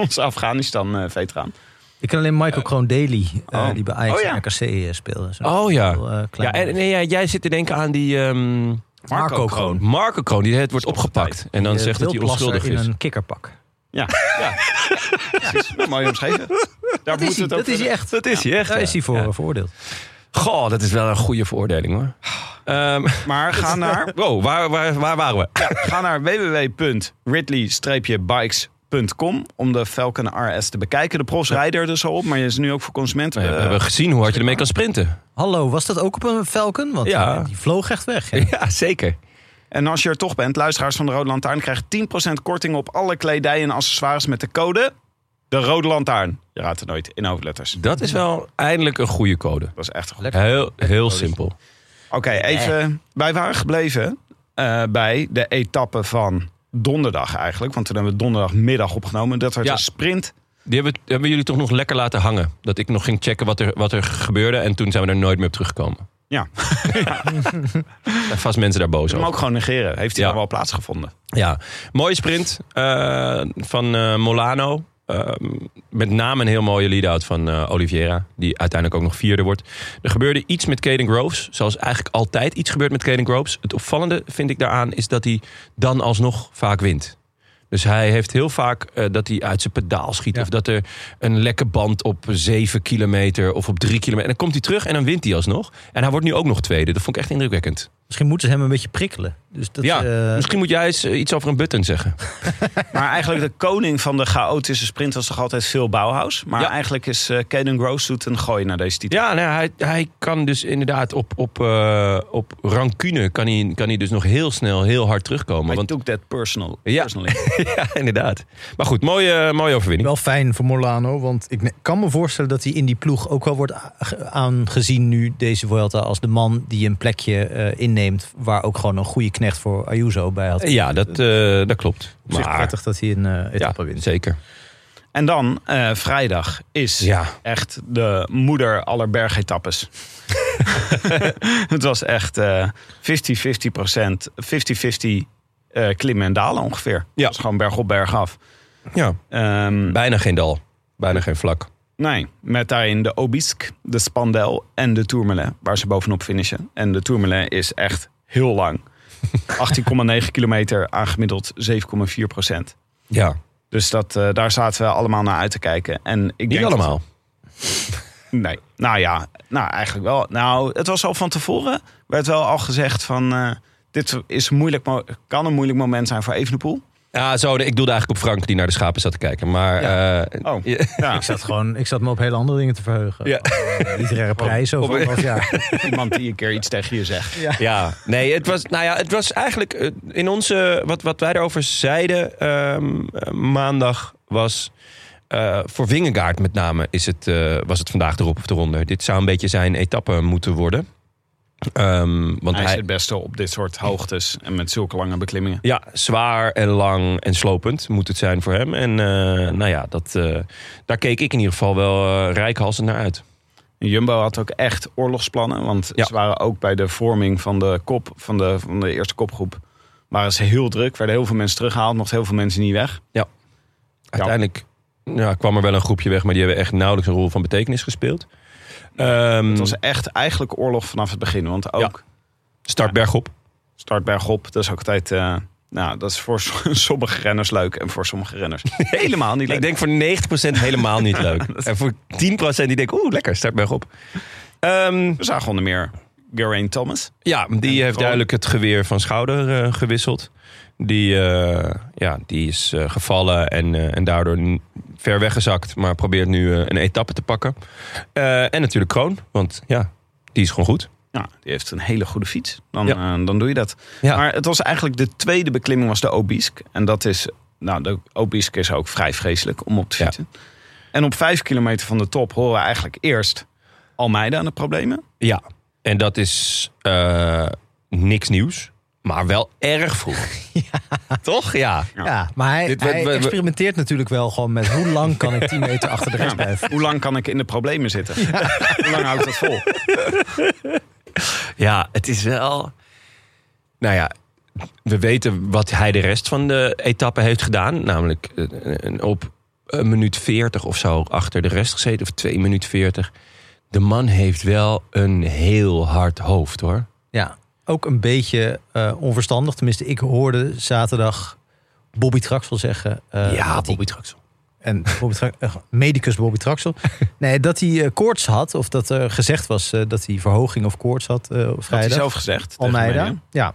A: Onze Afghanistan-veteraan.
B: Ik ken alleen Michael Kroon Daly, eh,
A: oh.
B: die bij Ajax
A: Oh, ja.
B: en RKC eh, speelde. Zo.
C: Oh ja.
B: Heel, eh,
C: ja
B: klein
C: en, nee, ja, jij zit te denken aan die ehm
B: Marco Kroon.
C: Marco Kroon. Die het wordt opgepakt. En dan
B: Eh,
C: zegt dat hij
B: wildplasser
C: onschuldig
B: in
C: is.
B: een kikkerpak.
A: Ja, ja. precies. Mooi omschreven. Daar
B: Dat is, hij,
A: moeten we
B: dat
A: het
B: is
A: over-
B: hij echt.
C: Dat is hij echt.
B: Daar
C: ja.
B: is hij voor
C: Ja.
B: eh, veroordeeld.
C: Goh, dat is wel een goede veroordeling hoor. Ehm,
A: Maar ga naar,
C: wow, waar, waar, waar waren we?
A: ga naar www.ridley-bikes.com om de Falcon RS te bekijken. De profs rijden er dus al op, maar je is nu ook voor consumenten.
C: Nou ja, we hebben gezien hoe hard je ermee kan sprinten.
B: Hallo, was dat ook op een Falcon? Want
C: Ja.
B: eh, die vloog echt weg. hè.
C: Ja, zeker.
A: En als je er toch bent, luisteraars van de Rode Lantaarn krijgen 10% korting op alle kledij en accessoires met de code de Rode Lantaarn. Je raadt het nooit in hoofdletters.
C: Dat is wel eindelijk een goede code.
A: Dat is echt goed.
C: Heel, heel simpel.
A: Oké, even. Wij waren gebleven eh, bij de etappe van donderdag eigenlijk. Want toen hebben we donderdagmiddag opgenomen. Dat werd
C: Ja.
A: een sprint.
C: Die hebben, hebben jullie toch nog lekker laten hangen. Dat ik nog ging checken wat er, wat er gebeurde. En toen zijn we er nooit meer op teruggekomen.
A: Ja,
C: En vast mensen daar boos
A: hem
C: over.
A: ook gewoon negeren. Heeft hij
C: Ja.
A: nou wel plaatsgevonden?
C: Ja, mooie sprint eh, van eh, Molano. Eh, met name een heel mooie lead-out van eh, Oliveira. Die uiteindelijk ook nog vierde wordt. Er gebeurde iets met Caden Groves. Zoals eigenlijk altijd iets gebeurt met Caden Groves. Het opvallende vind ik daaraan is dat hij dan alsnog vaak wint. Dus hij heeft heel vaak eh, dat hij uit zijn pedaal schiet. Of dat er een lekke band op 7 kilometer of op 3 kilometer. En dan komt hij terug en dan wint hij alsnog. En hij wordt nu ook nog tweede. Dat vond ik echt indrukwekkend.
B: Misschien moeten ze hem een beetje prikkelen. Dus dat,
C: ja,
B: eh,
C: misschien moet jij eens eh, iets over een button zeggen.
A: Maar eigenlijk de koning van de chaotische sprint was toch altijd veel Bauhaus. Maar
C: Ja.
A: eigenlijk is eh Caden Groves doet een gooi naar deze titel.
C: Ja, nou, hij, hij kan dus inderdaad op, op, eh, op rancune kan hij, kan hij dus nog heel snel heel hard terugkomen.
A: Maar
C: Want,
A: took that personal.
C: Ja.
A: personally.
C: ja, inderdaad. Maar goed, mooie, mooie overwinning.
B: wel fijn voor Morlano. Want ik ne- kan me voorstellen dat hij in die ploeg ook wel wordt a- ge- aangezien nu deze Vuelta. Als de man die een plekje eh, inneemt waar ook gewoon een goede knecht voor Ayuso bij had.
C: Ja, dat, eh, dat klopt.
B: Op zich
C: Maar,
B: prettig dat hij een eh,
C: ja,
B: etappe wint.
C: zeker.
A: En dan eh, vrijdag is
C: Ja.
A: echt de moeder aller bergetappes. het was echt eh, 50-50 procent, 50-50 eh klimmen en dalen ongeveer.
C: Ja.
A: Het was gewoon bergop, bergaf.
C: Ja,
A: Ehm
C: bijna geen dal. Bijna geen vlak.
A: nee, met daarin de Obisk, de Spandel en de Tourmalet, waar ze bovenop finishen. En de Tourmalet is echt heel lang. 18,9 kilometer aan gemiddeld 7,4 procent.
C: Ja,
A: Dus dat, eh, daar zaten we allemaal naar uit te kijken. En ik
C: niet
A: denk dat-
C: allemaal.
A: Nee. Nou ja, nou eigenlijk wel. Nou, het was al van tevoren. werd wel al gezegd van... eh, dit is moeilijk, mo- kan een moeilijk moment zijn voor Evenepoel.
C: Ja, zo, ik doelde eigenlijk op Frank die naar de schapen zat te kijken. Maar eh,
A: Oh,
C: ja,
A: ja.
B: Ik zat, gewoon, ik zat me op hele andere dingen te verheugen.
C: Ja.
B: Eh, literaire prijzen over
C: op-
B: anderhalf jaar.
A: iemand die een keer iets tegen je zegt.
C: Ja, nee, het was, nou ja, het was eigenlijk eh, in onze, wat, wat wij erover zeiden ehm, eh, maandag was, eh, voor Wingegaard met name is het, eh, was het vandaag erop of eronder. Dit zou een beetje zijn etappe moeten worden. Ehm, want
A: Hij is
C: hij,
A: het beste op dit soort hoogtes en met zulke lange beklimmingen.
C: ja, zwaar en lang en slopend moet het zijn voor hem. En eh, nou ja, dat, eh, daar keek ik in ieder geval wel eh, reikhalsend naar uit.
A: En Jumbo had ook echt oorlogsplannen. Want
C: Ja.
A: ze waren ook bij de vorming van de, kop, van de, van de eerste kopgroep... waren ze heel druk. Werden heel veel mensen teruggehaald. Mochten heel veel mensen niet weg.
C: Uiteindelijk ja, kwam er wel een groepje weg, maar die hebben echt nauwelijks een rol van betekenis gespeeld. Ehm,
A: Het was echt eigenlijk oorlog vanaf het begin. Want ook...
C: start bergop.
A: start bergop. Dat is ook altijd. eh, nou, dat is voor s- sommige renners leuk en voor sommige renners helemaal niet leuk.
C: Ik denk voor 90% helemaal niet leuk. En voor 10% die denkt, oeh, lekker, start bergop. Ehm
A: We zagen onder meer Geraint Thomas.
C: ja, die heeft
A: gewoon-
C: duidelijk het geweer van schouder eh, gewisseld. Die, eh, ja, die is eh, gevallen en, eh, en daardoor n- ver weggezakt. Maar probeert nu eh, een etappe te pakken. Eh, en natuurlijk Kroon, want ja, die is gewoon goed.
A: Ja, die heeft een hele goede fiets. Dan,
C: Ja.
A: eh, dan doe je dat.
C: Ja.
A: Maar het was eigenlijk de tweede beklimming was de Obisk. En dat is, nou, de Obisk is ook vrij vreselijk om op te
C: Ja.
A: fietsen. En op vijf kilometer van de top horen we eigenlijk eerst Almeida aan de problemen.
C: Ja, en dat is eh, niks nieuws, maar wel erg vroeg. Toch? Ja.
A: Ja.
B: Ja, maar hij,
C: Dit werd-
B: hij
C: we- we-
B: experimenteert natuurlijk wel gewoon met hoe lang kan ik 10 meter achter de rest
A: Ja,
B: blijven.
A: hoe lang kan ik in de problemen zitten? Hoe lang houdt dat vol?
C: ja, het is wel... Nou ja, we weten wat hij de rest van de etappe heeft gedaan. Namelijk eh, eh, op een minuut 40 of zo achter de rest gezeten. Of 2 minuut 40. De man heeft wel een heel hard hoofd hoor.
B: Ja, ook een beetje eh, onverstandig. Tenminste, ik hoorde zaterdag Bobby Traxel zeggen. eh, dat hij-
C: Traxel.
B: en Bobby Tra- eh, medicus Bobby Traxel. nee, dat hij eh, koorts had. Of dat er gezegd was eh, dat hij verhoging of koorts had eh, op
A: Dat had hij
B: vrijdag.
A: zelf gezegd. tegen mij, hè?
B: Almeida. Ja,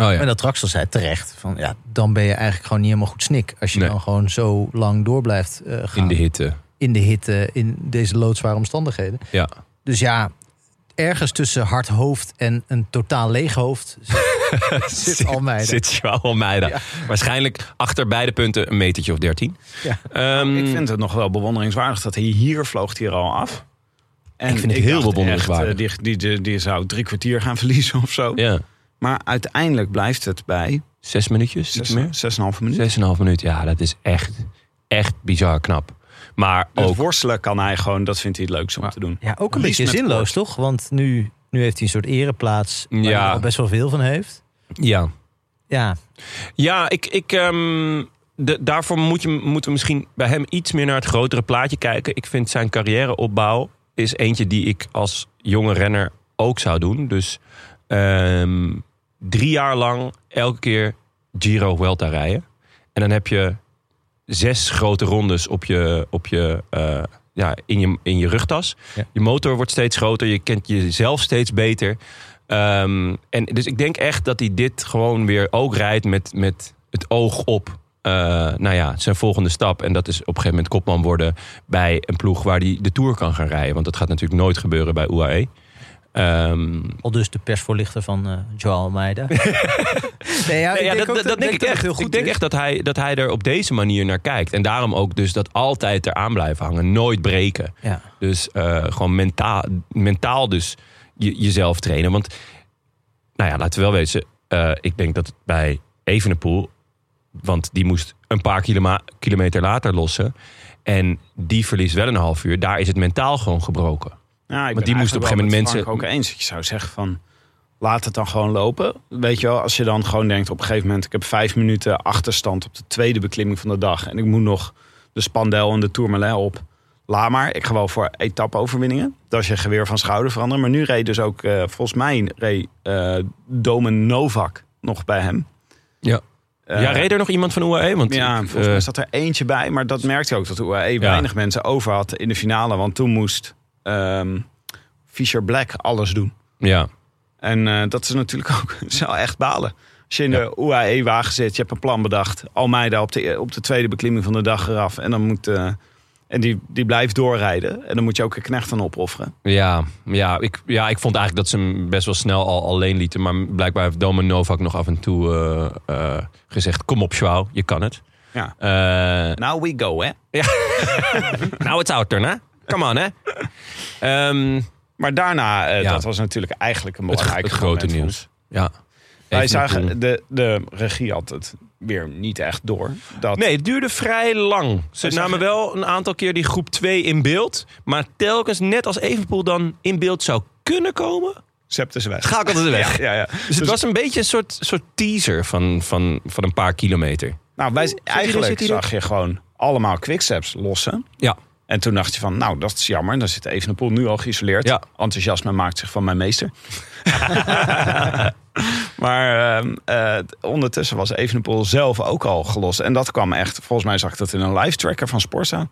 C: Oh ja.
B: en dat Traxel zei terecht. Van, ja, dan ben je eigenlijk gewoon niet helemaal goed snik. Als je
C: Nee.
B: dan gewoon zo lang door blijft eh, gaan.
C: In de hitte.
B: in de hitte, in deze loodzware omstandigheden.
C: Ja.
B: Dus ja, ergens tussen hard hoofd en een totaal leeg hoofd zit Almeida.
C: Zit Joao Almeida. Waarschijnlijk achter beide punten een metertje of dertien.
B: Ja.
C: Hmm.
A: Ik vind het nog wel bewonderingswaardig dat hij hier vloog hij er al af. En
C: Ik vind het heel
A: dacht echt,
C: bewonderenswaardig.
A: eh, die, die, die, die zou drie kwartier gaan verliezen of zo.
C: ja.
A: Maar uiteindelijk blijft het bij
C: Zes minuutjes, iets
A: zes,
C: meer.
A: zes en een halve minuut.
C: Zes en een half minuut. Ja, dat is echt, echt bizar knap. Maar
A: Dus
C: ook...
A: worstelen kan hij gewoon, dat vindt hij het leukst om te
C: Mm.
A: doen.
B: Ja, ook een
A: Liefst
B: beetje
A: met
B: zinloos, toch? Want nu, nu heeft hij een soort ereplaats waar
C: Ja.
B: hij al best wel veel van heeft.
C: Ja,
B: Ja,
C: ja ik... ik ehm, de, daarvoor moet je, moeten we misschien bij hem iets meer naar het grotere plaatje kijken. Ik vind zijn carrièreopbouw is eentje die ik als jonge renner ook zou doen. Dus ehm, drie jaar lang elke keer Giro Vuelta rijden. En dan heb je zes grote rondes op je, op je, eh, ja, in, je in je rugtas.
B: Ja.
C: Je motor wordt steeds groter. Je kent jezelf steeds beter. Ehm, en dus ik denk echt dat hij dit gewoon weer ook rijdt met, met het oog op. eh, nou ja, zijn volgende stap. En dat is op een gegeven moment kopman worden bij een ploeg waar hij de Tour kan gaan rijden. Want dat gaat natuurlijk nooit gebeuren bij UAE. Ehm,
B: al dus de persvoorlichter van eh Joao Almeida. nee, ja,
C: Nee, ja,
B: ik denk
C: dat,
B: ook
C: dat, dat denk ik
B: het
C: echt.
B: heel goed
C: ik denk
B: is.
C: echt dat hij, dat hij er op deze manier naar kijkt. En daarom ook dus dat altijd eraan blijven hangen. Nooit breken.
B: Ja.
C: Dus eh, gewoon mentaal, mentaal dus je, jezelf trainen. Want, nou ja, laten we wel wezen. eh, ik denk dat het bij Evenepoel... Want die moest een paar kiloma- kilometer later lossen. En die verliest wel een half uur. Daar is het mentaal gewoon gebroken.
A: Ja, ik
C: Want
A: ben
C: die moest op een gegeven moment
A: eigenlijk wel met Frank ook eens. Ik zou zeggen van, laat het dan gewoon lopen. Weet je wel, als je dan gewoon denkt op een gegeven moment... ik heb vijf minuten achterstand op de tweede beklimming van de dag... en ik moet nog de Spandel en de Tourmalet op. Laat maar, ik ga wel voor etappe-overwinningen. Dat is je geweer van schouder veranderen. Maar nu reed dus ook, eh, volgens mij, reed eh, Domen Novak nog bij hem.
C: Ja.
A: Eh,
C: ja, reed er nog iemand van UAE? Want
A: ja,
C: ik,
A: volgens
C: eh,
A: mij zat er eentje bij. Maar dat merkte je ook dat de UAE weinig mensen over had in de finale. Want toen moest ehm, Fisher Black alles doen.
C: ja.
A: En eh, dat is natuurlijk ook het is wel echt balen. Als je in de UAE-wagen zit, je hebt een plan bedacht. Almeida op de, e-, op de tweede beklimming van de dag eraf. En, dan moet, eh, en die, die blijft doorrijden. En dan moet je ook een knecht aan opofferen.
C: Ja, ja, ik, ja, ik vond eigenlijk dat ze hem best wel snel al alleen lieten. Maar blijkbaar heeft Domen Novak nog af en toe eh, eh, gezegd... Kom op, Schwau, je kan het.
A: Ja.
C: Eh,
A: Now we go, hè?
C: nou, het out turn, hè? Come on, hè? Ehm,
A: Maar daarna, eh,
C: Ja.
A: dat was natuurlijk eigenlijk een
C: het,
A: belangrijk
C: het grote
A: moment voor
C: nieuws.
A: ons.
C: Ja.
A: Wij
C: Even
A: zagen,
C: naartoe.
A: de, de regie had het weer niet echt door. Dat,
C: Nee, het duurde vrij lang. Ze
A: Wij
C: namen
A: zagen-
C: wel een aantal keer die groep 2 in beeld. Maar telkens, net als Evenpoel dan in beeld zou kunnen komen...
A: Septus weg.
C: schakelden ze weg.
A: Ja, ja.
C: Dus het
A: Dus-
C: was een beetje een soort, soort teaser van, van, van een paar kilometer.
A: Nou, wij, eigenlijk
C: zit hij er?
A: zag je gewoon allemaal quicksteps lossen.
C: Ja.
A: En toen dacht je van, nou, dat is jammer. Dan zit Evenepoel nu al geïsoleerd.
C: Ja.
A: Enthousiasme maakt zich van mijn meester. maar ehm, eh, ondertussen was Evenepoel zelf ook al gelost. En dat kwam echt, volgens mij zag ik dat in een live tracker van Sporza.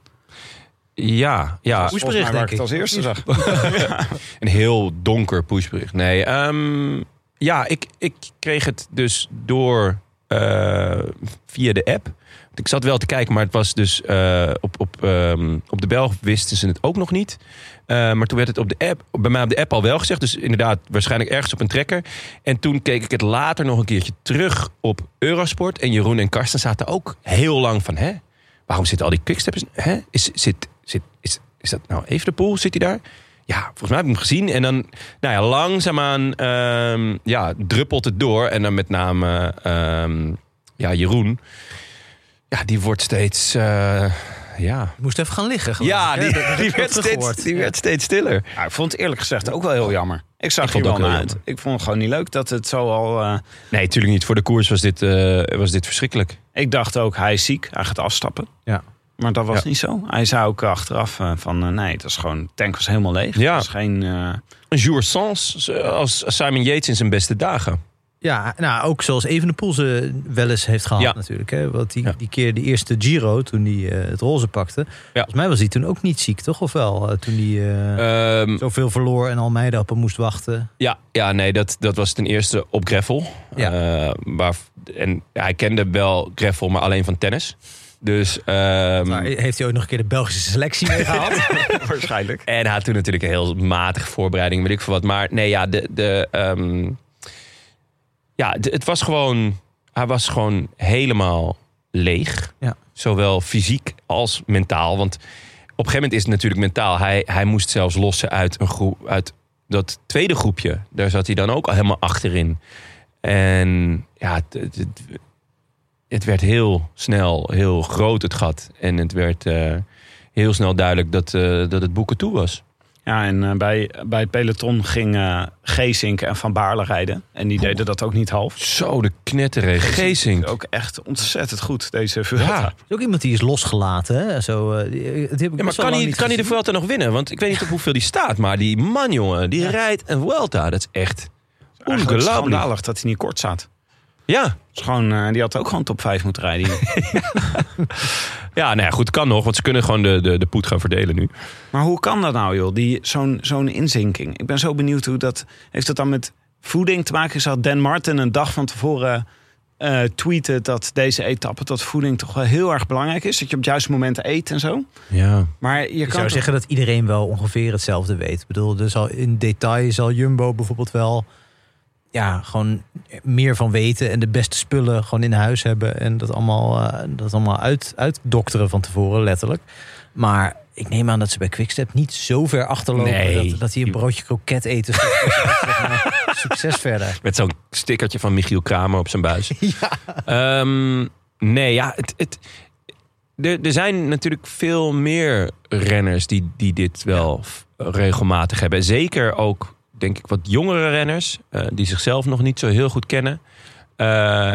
C: Ja, ja.
A: Volgens mij
B: Pushbericht,
A: waar
B: denk
A: ik het
B: ik.
A: als eerste zag.
C: Een heel donker pushbericht. Nee, ehm, ja, ik, ik kreeg het dus door eh, via de app. Want Ik zat wel te kijken, maar het was dus eh, op, op, ehm, op de Belg wisten ze het ook nog niet. Eh, maar toen werd het op de app, bij mij op de app al wel gezegd. Dus inderdaad, waarschijnlijk ergens op een trekker. En toen keek ik het later nog een keertje terug op Eurosport. En Jeroen en Karsten zaten ook heel lang van, hè? Waarom zitten al die quicksteps? Hè? Is, zit, zit, is, is dat nou even de pool? Zit hij daar? Ja, volgens mij heb ik hem gezien. En dan, nou ja, langzaamaan ehm, ja, druppelt het door. En dan met name ehm, ja, Jeroen. Ja, die wordt steeds... eh, ja,
B: Je moest even gaan liggen. geloof
C: ja,
B: ik, hè?
C: die,
B: Dat- dat
C: die,
B: heb
C: werd,
B: ik wel
C: steeds,
B: teruggehoord.
C: die werd steeds stiller.
A: Ja, Nou, ik vond het eerlijk gezegd ook wel heel jammer. Ik zag
C: Ik
A: hier
C: vond het ook heel
A: wel naar uit.
C: jammer.
A: Ik vond het gewoon niet leuk dat het zo al... eh,
C: Nee, natuurlijk niet. Voor de koers was dit, eh, was dit verschrikkelijk.
A: ik dacht ook, hij is ziek. Hij gaat afstappen.
B: Ja.
A: Maar dat was
C: Ja.
A: niet zo. Hij zei ook achteraf eh, van... eh, nee, het is gewoon, de tank was helemaal leeg.
C: Ja.
A: Het was geen... eh,
C: Een jour sans eh, als Simon Yates in zijn beste dagen.
B: Ja, nou ook zoals Evenepoel ze wel eens heeft gehad
C: Ja.
B: natuurlijk. Hè? Want die,
C: Ja.
B: die keer de eerste Giro, toen hij eh, het roze pakte. Volgens mij was hij toen ook niet ziek, toch? Of wel? Eh, toen hij eh,
C: Ehm,
B: zoveel verloor en Almeida op hem moest wachten.
C: ja, ja, nee, dat, dat was ten eerste op Greffel.
B: Ja.
C: Eh, waar, en hij kende wel Greffel, maar alleen van tennis. Dus, ehm,
B: Maar heeft hij ook nog een keer de Belgische selectie meegehaald?
A: waarschijnlijk.
C: En hij had toen natuurlijk een heel matige voorbereiding, weet ik veel wat. Maar nee, ja, de, de, ehm, ja de- het was gewoon... Hij was gewoon helemaal leeg.
B: Ja.
C: Zowel fysiek als mentaal. Want op een gegeven moment is het natuurlijk mentaal. Hij, hij moest zelfs lossen uit, een groep, uit dat tweede groepje. Daar zat hij dan ook al helemaal achterin. En ja, het, het- het- het werd heel snel heel groot het gat. En het werd... eh, heel snel duidelijk dat, eh, dat het boeken toe was.
A: Ja, en eh, bij, bij het peloton gingen Geesink en Van Baarle rijden. En die deden dat ook niet half. Dus
C: Zo, de knetterregen.
B: Oh,
C: Geesink.
A: Ook echt ontzettend goed, deze Vuelta.
C: Ja,
B: Er is ook iemand die is losgelaten. Hè? Zo, eh, die- die heb ik
C: Ja, maar
B: best wel
C: kan
B: lang
C: hij,
B: niet
C: kan hij de
B: gezien.
C: Vuelta nog winnen? Want ik weet niet op hoeveel die staat. Maar die man, jongen, die
B: Ja.
C: rijdt een Vuelta. Dat is echt
A: Eigenlijk ook
C: ongelooflijk.
A: schandalig dat hij niet kort staat.
C: Ja.
A: Het is gewoon, eh, die had ook gewoon top 5 moeten rijden.
C: ja, nou ja, goed, kan nog. Want ze kunnen gewoon de, de, de poet gaan verdelen nu.
A: Maar hoe kan dat nou, joh? Die- Zo'n zo'n inzinking. Ik ben zo benieuwd hoe dat. Heeft dat dan met voeding te maken? Zou Dan Martin een dag van tevoren eh, tweeten dat deze etappe, dat voeding toch wel heel erg belangrijk is? Dat je op het juiste moment eet en zo.
C: Ja.
A: Maar je
B: Ik
A: kan.
B: zou
A: toch-
B: zeggen dat iedereen wel ongeveer hetzelfde weet. Ik bedoel, dus al in detail zal Jumbo bijvoorbeeld wel ja, gewoon meer van weten en de beste spullen gewoon in huis hebben en dat allemaal, eh, dat allemaal uit, uitdokteren van tevoren, letterlijk. Maar ik neem aan dat ze bij Quickstep niet zo ver achterlopen
C: Nee.
B: dat, dat hij een broodje kroket eten. Succes verder.
C: Met zo'n stickertje van Michiel Kramer op zijn buis. Ja. nee, ja, het... het er, er zijn natuurlijk veel meer renners die, die dit wel f- regelmatig hebben. Zeker ook, denk ik, wat jongere renners. eh, die zichzelf nog niet zo heel goed kennen. Eh,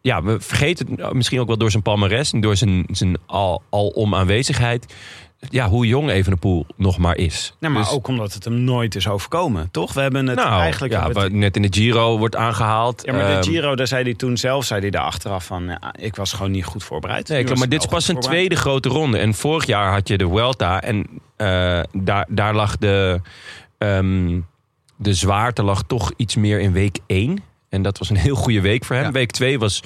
C: ja, we vergeten het misschien ook wel door zijn palmares. En door zijn, zijn al, alom aanwezigheid. Ja, hoe jong Evenepoel nog maar is.
A: Nee, maar
C: Dus-
A: ook omdat het hem nooit is overkomen, toch? We hebben het
C: nou,
A: eigenlijk.
C: ja,
A: hebben we
C: wat
A: het-
C: net in de Giro wordt aangehaald.
A: ja, maar
C: Ehm,
A: de Giro, daar zei hij toen zelf, zei hij daar achteraf van, ja, ik was gewoon niet goed voorbereid.
C: Nee,
A: Nu
C: klopt,
A: was
C: maar
A: ik
C: dit is
A: wel
C: pas
A: goed
C: een
A: voorbereid.
C: tweede grote ronde. En vorig jaar had je de Vuelta. En eh, daar, daar lag de, ehm, de zwaarte lag toch iets meer in week 1. En dat was een heel goede week voor hem.
B: Ja.
C: Week 2 was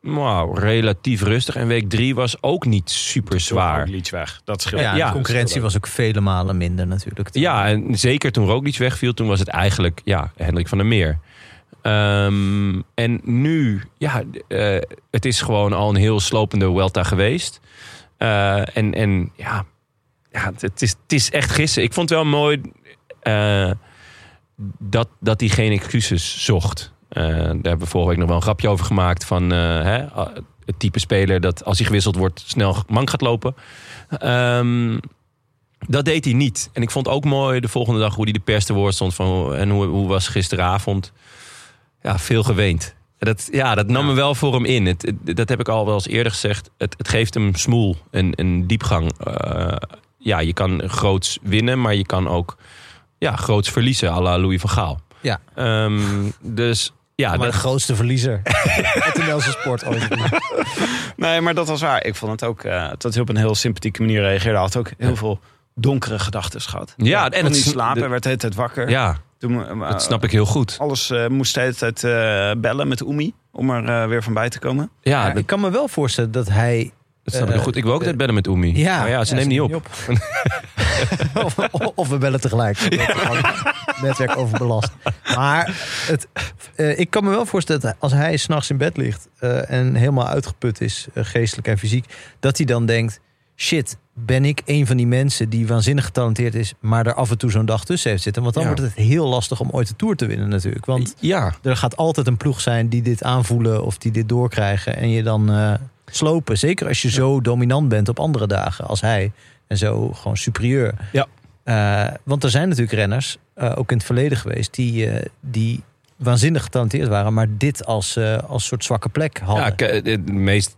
C: wow, relatief rustig. En week 3 was ook niet super zwaar.
A: Roglic weg. Dat scheelt.
B: Ja,
C: ja.
B: de concurrentie was ook vele malen minder natuurlijk.
C: Ja, en zeker toen Roglic wegviel, toen was het eigenlijk ja, Hendrik van der Meer. Ehm, en nu, ja, eh, het is gewoon al een heel slopende Welta geweest. Eh, en, en ja, ja het, is, het is echt gissen. Ik vond het wel mooi eh, dat, dat hij geen excuses zocht. Eh, daar hebben we vorige week nog wel een grapje over gemaakt. Van eh, hè, het type speler dat als hij gewisseld wordt snel mank gaat lopen. Ehm, dat deed hij niet. En ik vond ook mooi de volgende dag hoe hij de pers te woord stond. Van, en hoe, hoe was gisteravond? Ja, veel geweend. En Dat, ja, dat nam me wel voor hem in. Het, het- dat heb ik al wel eens eerder gezegd. Het, het geeft hem smoel en, en diepgang. Eh, ja, je kan groots winnen, maar je kan ook ja, groots verliezen. à la Louis van Gaal.
B: Ja.
C: Ehm, dus ja,
B: maar de
C: dat-
B: grootste verliezer uit de Nederlandse sport ooit.
A: Nee, maar dat was waar. Ik vond het ook eh, dat hij op een heel sympathieke manier reageerde. Hij had ook heel veel donkere gedachten gehad.
C: Ja, en
A: en
C: het
A: het niet
C: sn-
A: slapen,
C: de-
A: werd de hele tijd wakker.
C: Ja,
A: Toen, eh,
C: dat snap ik heel goed.
A: Alles eh, moest de hele tijd eh, bellen met Oemi om er eh, weer van bij te komen.
C: Ja,
B: Ja,
C: dat,
B: ik kan me wel voorstellen dat hij...
C: dat snap ik
B: eh,
C: goed. Ik wil ook net bellen met Oemi.
B: Ja,
C: maar Oh ja, ze neemt niet op.
B: of, of we bellen tegelijk. Netwerk overbelast. Maar het, eh, ik kan me wel voorstellen dat als hij s'nachts in bed ligt eh, en helemaal uitgeput is, eh, geestelijk en fysiek, dat hij dan denkt: shit, ben ik een van die mensen die waanzinnig getalenteerd is, maar er af en toe zo'n dag tussen heeft zitten? Want dan
C: Ja.
B: wordt het heel lastig om ooit de tour te winnen, natuurlijk. Want
C: Ja,
B: er gaat altijd een ploeg zijn die dit aanvoelen of die dit doorkrijgen en je dan eh, slopen. Zeker als je zo dominant bent op andere dagen als hij en zo gewoon superieur.
C: Ja.
B: Eh, want er zijn natuurlijk renners, eh, ook in het verleden geweest, die, eh, die waanzinnig getalenteerd waren, maar dit als, eh, als soort zwakke plek hadden.
C: ja ik, eh, het meest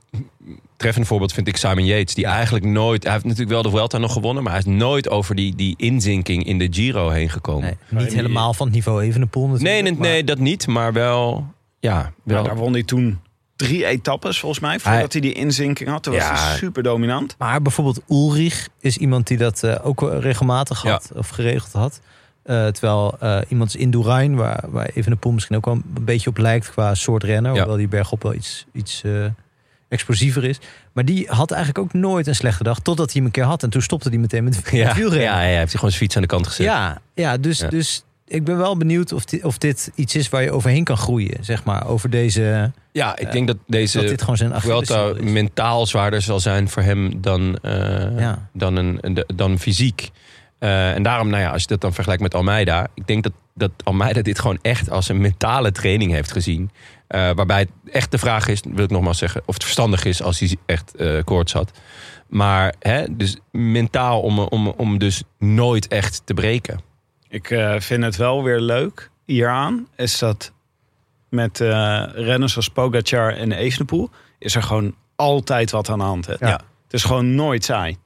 C: treffende voorbeeld vind ik Simon Yates. Die eigenlijk nooit... Hij heeft natuurlijk wel de Vuelta nog gewonnen... maar hij is nooit over die, die inzinking in de Giro heen gekomen.
B: nee,
C: Nee,
B: niet helemaal van het niveau Evenepoel natuurlijk.
C: nee, nee,
B: maar-
C: dat niet. Maar wel... Ja,
A: Maar
C: wel.
A: daar won hij toen drie etappes volgens mij, voordat hij, die inzinking had. Toen was
C: Ja.
A: hij super dominant.
B: Maar bijvoorbeeld Ulrich is iemand die dat eh, ook wel regelmatig had of geregeld had. Eh, terwijl eh, iemand is in Dourain, waar, waar Evenepoel misschien ook wel een beetje op lijkt qua soort renner.
C: Ja.
B: Hoewel die bergop wel iets, iets eh, explosiever is. Maar die had eigenlijk ook nooit een slechte dag, totdat hij hem een keer had. En toen stopte hij meteen met, met
C: ja, ja,
B: wielrennen.
C: ja, hij heeft gewoon zijn fiets aan de kant gezet.
B: Ja, ja, dus,
C: Ja.
B: dus ik ben wel benieuwd of, di- of dit iets is waar je overheen kan groeien. Zeg maar, over deze...
C: Ja, ik
B: Eh,
C: denk dat deze
B: dat dit gewoon zijn
C: Vuelta
B: Achilleshiel is.
C: eh, mentaal zwaarder zal zijn voor hem dan, eh,
B: Ja.
C: dan, een, een- dan fysiek. Eh, en daarom, nou ja, als je dat dan vergelijkt met Almeida... ik denk dat, dat Almeida dit gewoon echt als een mentale training heeft gezien. Eh, waarbij het echt de vraag is, wil ik nogmaals zeggen... of het verstandig is als hij echt eh, koorts had. Maar hè, dus mentaal om, om, om dus nooit echt te breken.
A: Ik eh, vind het wel weer leuk hieraan, is dat met eh, renners als Pogacar en Evenepoel... is er gewoon altijd wat aan de hand. Hè?
B: Ja.
A: Het is gewoon nooit saai.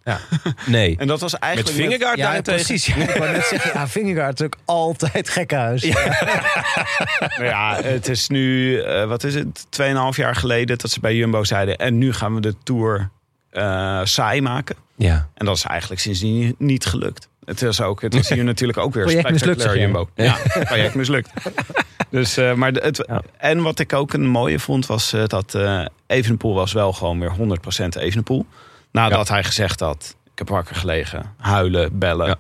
C: Nee.
A: En dat was
C: Met
A: eigenlijk...
C: Vingegaard daarentegen.
B: precies. Ja. Ik wou net zeggen, ja, Vingegaard is ook altijd gekkenhuis.
A: Nou ja, het is nu, eh, wat is het, 2,5 jaar geleden dat ze bij Jumbo zeiden... en nu gaan we de Tour eh, saai maken.
C: Ja.
A: En dat is eigenlijk sindsdien niet- niet gelukt. Het is, ook, het is hier natuurlijk ook weer
B: Project mislukt,
A: spectaculair Jumbo.
B: zeg
A: Ja, project mislukt. Dus, eh, maar de- het,
C: Ja.
A: En wat ik ook een mooie vond was eh, dat eh Evenepoel was wel gewoon weer 100% Evenepoel. Nadat hij gezegd had, ik heb wakker gelegen, huilen, bellen,
C: Ja.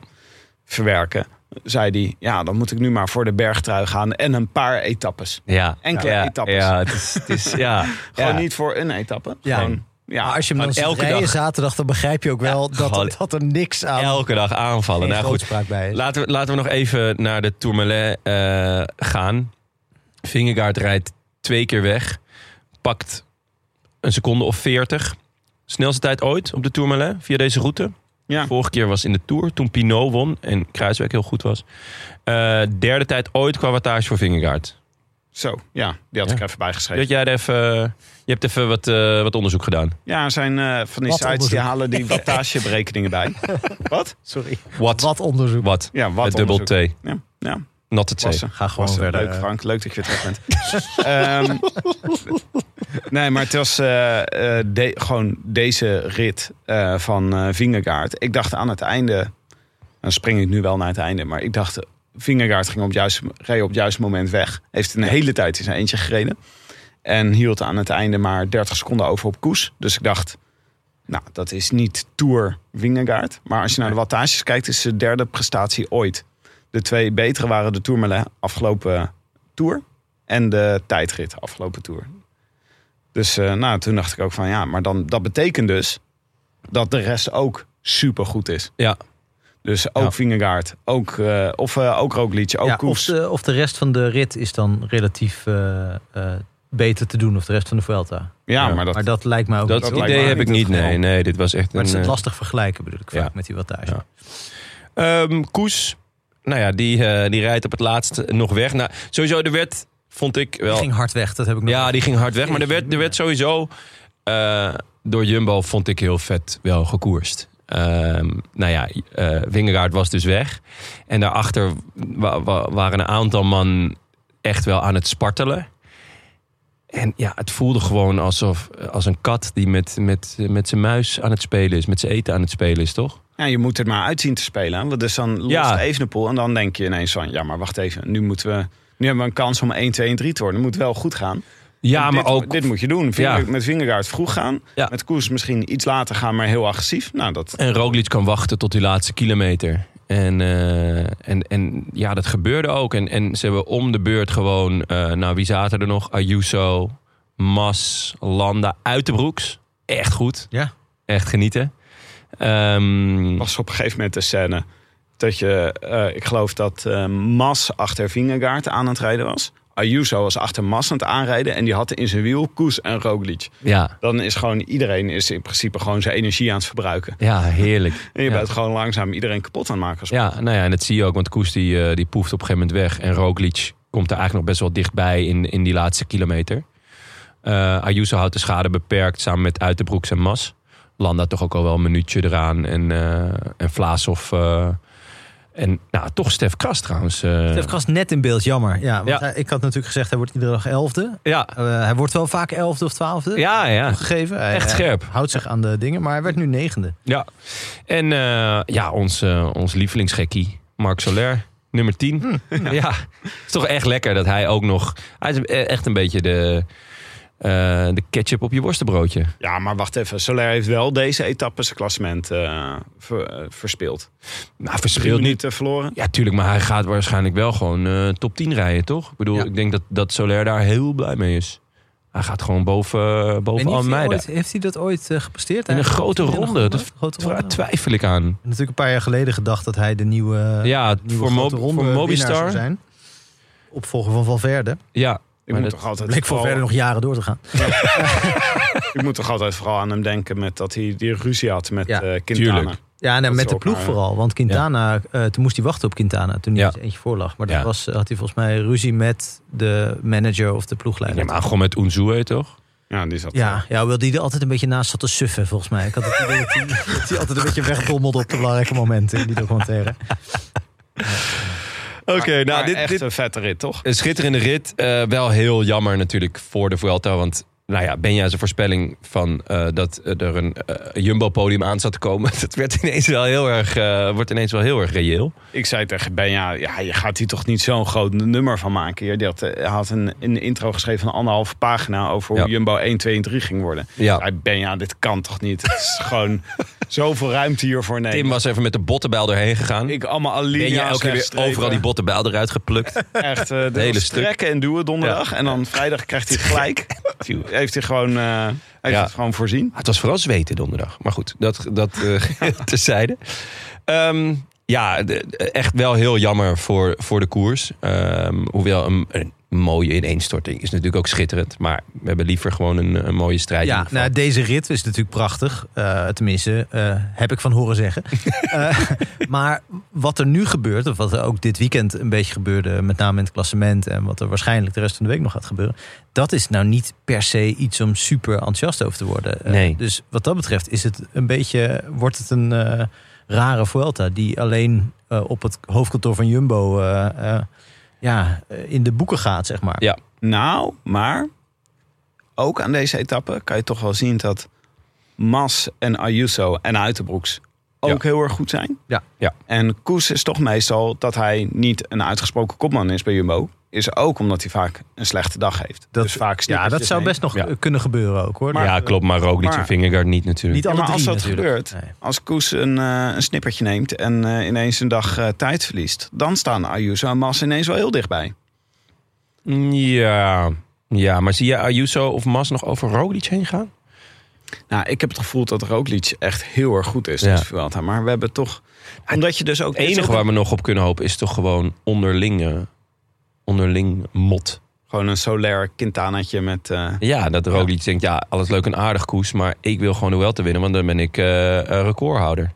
A: verwerken. Zei hij, ja dan moet ik nu maar voor de bergtrui gaan en een paar etappes.
C: Ja.
A: Enkele
C: ja,
A: etappes.
C: Ja, het is, het is, ja.
A: Gewoon
C: Ja.
A: niet voor een etappe.
B: Ja.
A: Gewoon, ja.
B: Maar als je hem dan
C: Gewoon
B: elke
C: elke dag.
B: zaterdag, dan begrijp je ook wel
C: gewoon-
B: dat, dat er niks aan
C: Elke dag aanvallen.
B: geen
C: Nou goed,
B: grootspraak bij is.
C: Laten we, laten we nog even naar de Tourmalet eh, gaan. Vingegaard rijdt twee keer weg. Pakt een seconde of veertig. Snelste tijd ooit op de Tourmalet via deze route.
A: Ja.
C: Vorige keer was in de Tour toen Pinot won en Kruiswijk heel goed was. Eh, derde tijd ooit qua wattage voor Vingegaard.
A: Zo, ja, die had
C: Ja.
A: ik even bijgeschreven.
C: Dat jij er even, je hebt even wat, eh, wat onderzoek gedaan.
A: Ja, er zijn eh, van die
B: Wat
A: sites
B: onderzoek?
A: die halen die wattageberekeningen bij. wat?
B: Sorry.
C: Wat?
B: Wat onderzoek.
C: Wat?
A: Ja, wat
C: Met dubbel T.
A: onderzoek. Ja, ja.
C: Not het
A: was
C: zeven.
A: er.
B: Ga gewoon
A: Was er.
B: verder. eh.
A: Leuk Frank, leuk dat je weer terug bent. Ehm, nee, maar het was eh, eh, de- gewoon deze rit eh, van eh Vingegaard. Ik dacht aan het einde, dan spring ik nu wel naar het einde, maar ik dacht Vingegaard ging op het juiste, reed op het juiste moment weg. Heeft een hele tijd in zijn eentje gereden. En hield aan het einde maar 30 seconden over op koers. Dus ik dacht, nou, dat is niet Tour Wingegaard. Maar als je naar de wattages kijkt, is de derde prestatie ooit. De twee betere waren de Tourmalet afgelopen Tour. En de tijdrit afgelopen Tour. Dus eh, nou, toen dacht ik ook van ja, maar dan, dat betekent dus dat de rest ook supergoed is.
C: Ja.
A: Dus ook
C: Ja.
A: Vingegaard, ook, eh of eh ook Roglic, ook
B: Ja, of,
A: Koes.
B: de, of de rest van de rit is dan relatief eh, eh, beter te doen, of de rest van de Vuelta.
A: ja,
C: ja,
A: maar dat,
B: maar dat lijkt mij ook
C: Dat,
B: niet.
A: lijkt
C: idee
A: me
C: heb ik
A: niet
C: niet.
A: het
C: Nee,
A: geval.
C: nee, dit was echt
B: Maar het is
C: een...
B: het
C: eh,
B: lastig vergelijken, bedoel ik,
C: Ja.
B: vaak met die wattage.
C: Ja. Ehm, Koes, nou ja, die, eh, die rijdt op het laatst nog weg. Nou, sowieso, er werd, vond ik
B: Die
C: wel...
B: ging hard weg, dat heb ik nog.
C: ja, die ging hard weg. Maar er werd, er werd sowieso eh, door Jumbo, vond ik heel vet, wel gekoerst. Ehm, nou ja, eh Wingegaard was dus weg. En daarachter wa- wa- waren een aantal man echt wel aan het spartelen. En ja, het voelde gewoon eh, alsof als een kat die met, met, met zijn muis aan het spelen is, met zijn eten aan het spelen is, toch?
A: Ja, je moet er maar uitzien te spelen. Want Dus dan lost
C: Ja.
A: Evenepoel. En dan denk je ineens van, ja, maar wacht even. Nu, moeten we, nu hebben we een kans om 1, 2 en 3 te worden. Het moet wel goed gaan.
C: Ja,
A: Dit-
C: maar ook...
A: Dit moet je doen. Vinger-
C: Ja.
A: Met Vingegaard vroeg gaan.
C: Ja.
A: Met Koers misschien iets later gaan, maar heel agressief. Nou, dat...
C: En Roglic kan wachten tot die laatste kilometer. En, eh, en, en ja, dat gebeurde ook. En, en ze hebben om de beurt gewoon... eh, nou, wie zaten er nog? Ayuso, Mas, Landa, Uitenbroeks. Echt goed.
B: Ja.
C: Echt genieten. Ehm,
A: was op een gegeven moment de scène dat je, eh, ik geloof dat eh, Mas achter Vingegaard aan het rijden was. Ayuso was achter Mas aan het aanrijden en die had in zijn wiel Koes en Roglic.
C: ja.
A: Dan is gewoon iedereen is in principe gewoon zijn energie aan het verbruiken.
C: ja, heerlijk.
A: En je
C: Ja.
A: bent gewoon langzaam iedereen kapot aan het maken.
C: Ja, nou ja, en dat zie je ook. Want Koes die, eh, die poeft op een gegeven moment weg. En Roglic komt er eigenlijk nog best wel dichtbij in, in die laatste kilometer. Eh Ayuso houdt de schade beperkt samen met Uitenbroeks en Mas. Landa toch ook al wel een minuutje eraan. En, eh en Vlaashoff. eh, en nou, toch Stef Kras trouwens. eh.
B: Stef Kras net in beeld, jammer. Ja, want
C: Ja.
B: hij- ik had natuurlijk gezegd, hij wordt iedere dag elfde.
C: Ja,
B: Eh, hij wordt wel vaak elfde of twaalfde
C: ja, ja.
B: gegeven. Hij,
C: Echt
B: eh,
C: scherp.
B: houdt zich aan de dingen, maar hij werd nu negende.
C: ja. En eh, ja, ons, eh, ons lievelingsgekkie, Marc Soler. Nummer 10. ja. is toch echt lekker dat hij ook nog... Hij is e- echt een beetje de, eh, de ketchup op je worstenbroodje.
A: Ja, maar wacht even. Soler heeft wel deze etappe zijn klassement eh, ver- eh, verspeeld.
C: Nou,
A: Drie
C: verschilt niet.
A: minuten verloren.
C: Ja, tuurlijk, maar hij gaat waarschijnlijk wel gewoon eh, top 10 rijden, toch? Ik bedoel,
B: Ja.
C: ik denk dat, dat Soler daar heel blij mee is. Hij gaat gewoon boven,
B: En
C: boven
B: heeft, hij
C: Almeida.
B: ooit- heeft hij dat ooit eh, gepresteerd?
C: In een
B: eigenlijk?
C: grote
B: Heeft hij
C: ronde,
B: nog
C: dat
B: gewonnen? grote
C: Daar
B: ronde.
C: twijfel ik aan.
B: Natuurlijk een paar jaar geleden gedacht dat hij de nieuwe,
C: ja,
B: nieuwe
C: voor,
B: Eh, grote
C: Mo-
B: ronde
C: voor
B: winnaar zou
C: Mobistar.
B: zijn. Opvolger van Valverde.
C: Ja,
A: Ik
C: Maar
A: moet,
C: dat
A: toch altijd
B: Bleek
A: vooral,
B: Valverde nog jaren door te gaan.
A: ik moet toch altijd vooral aan hem denken met dat hij die ruzie had met
B: Ja,
A: eh Quintana.
C: tuurlijk.
B: Ja, en
A: Dat
B: met
A: is
B: de
A: ook
B: ploeg
A: maar,
B: vooral. Want Quintana, eh, toen moest hij wachten op Quintana. Toen hij
C: Ja.
B: eens eentje voor lag. Maar dat
C: Ja.
B: was, had hij volgens mij ruzie met de manager of de
C: ik
B: ploegleider.
C: neem aan gewoon met Unzue, toch?
A: Ja, die zat
B: Ja, ja, hoewel die er altijd een beetje naast zat te suffen, volgens mij. Ik had het idee dat hij- dat hij altijd een beetje wegdommelde op de belangrijke momenten in die documentaire.
C: Oké,
A: nou, dit, echt een vette rit, toch?
C: Een schitterende rit. Eh, wel heel jammer natuurlijk voor de Vuelta. Want nou ja, Benja zijn voorspelling van eh, dat eh, er een eh, Jumbo-podium aan zat te komen. Dat werd ineens wel heel erg, eh, wordt ineens wel heel erg reëel.
A: Ik zei tegen Benja, ja, je gaat hier toch niet zo'n groot nummer van maken. Je had, eh, had een, een intro geschreven van anderhalve pagina over hoe
C: Ja.
A: Jumbo 1, 2 en 3 ging worden.
C: Ja.
A: Ik zei, Benja, dit kan toch niet? Het is gewoon zoveel ruimte hiervoor nemen.
C: Tim was even met de bottenbijl erheen gegaan.
A: Ik allemaal alinea's
C: Benja elke keer weer
A: wegstrepen.
C: overal die bottenbijl eruit geplukt.
A: Echt, eh, de
C: hele
A: hele
C: stuk.
A: strekken en doen donderdag. En dan vrijdag krijgt hij het gelijk. heeft hij gewoon, eh, heeft
C: Ja.
A: het gewoon voorzien.
C: Ah, Het was vooral zweten donderdag. Maar goed, dat, dat eh terzijde. Ehm, ja, de- echt wel heel jammer voor, voor de koers. Ehm, hoewel een, een mooie ineenstorting is natuurlijk ook schitterend. Maar we hebben liever gewoon een, een mooie strijd. in
B: Ja,
C: ieder geval.
B: nou, deze rit is natuurlijk prachtig. Eh, tenminste, eh, heb ik van horen zeggen. Eh, maar wat er nu gebeurt, of wat er ook dit weekend een beetje gebeurde, met name in het klassement en wat er waarschijnlijk de rest van de week nog gaat gebeuren, dat is nou niet per se iets om super enthousiast over te worden. Eh,
C: Nee.
B: Dus wat dat betreft is het een beetje, wordt het een eh, rare Vuelta die alleen eh, op het hoofdkantoor van Jumbo eh, eh, ja, eh, in de boeken gaat, zeg maar.
C: Ja.
A: Nou, maar ook aan deze etappe kan je toch wel zien dat Mas en Ayuso en Uitenbroeks ook heel erg goed zijn.
B: Ja.
C: Ja.
A: En Koes is toch meestal dat hij niet een uitgesproken kopman is bij Jumbo. Is ook omdat hij vaak een slechte dag heeft.
B: Dat-
A: dus vaak
B: Ja, dat
A: snickertjes
B: zou
A: neemt.
B: best nog
C: Ja.
B: kunnen gebeuren ook hoor.
C: ja, klopt. Maar Roglic en
A: maar-
C: Vingegaard niet natuurlijk.
B: Niet
A: Ja,
B: alle
A: maar als
B: drie
A: dat
B: natuurlijk.
A: gebeurt,
B: Nee.
A: als Koes een, eh, een snippertje neemt en eh, ineens een dag eh, tijd verliest, dan staan Ayuso en Mas ineens wel heel dichtbij.
C: Ja, ja, maar zie je Ayuso of Mas nog over Roglic heen gaan?
A: Nou, ik heb het gevoel dat Roglic echt heel erg goed is.
C: Ja.
A: deze Vuelta. maar we hebben toch. Omdat je dus ook.
C: Het enige waar we nog op kunnen hopen is toch gewoon onderling, eh, onderling mot.
A: Gewoon een solair Quintanaatje met. eh,
C: Ja, dat Roglic denkt, ja, alles leuk en aardig koers. Maar ik wil gewoon de Welter winnen, want dan ben ik eh, een recordhouder.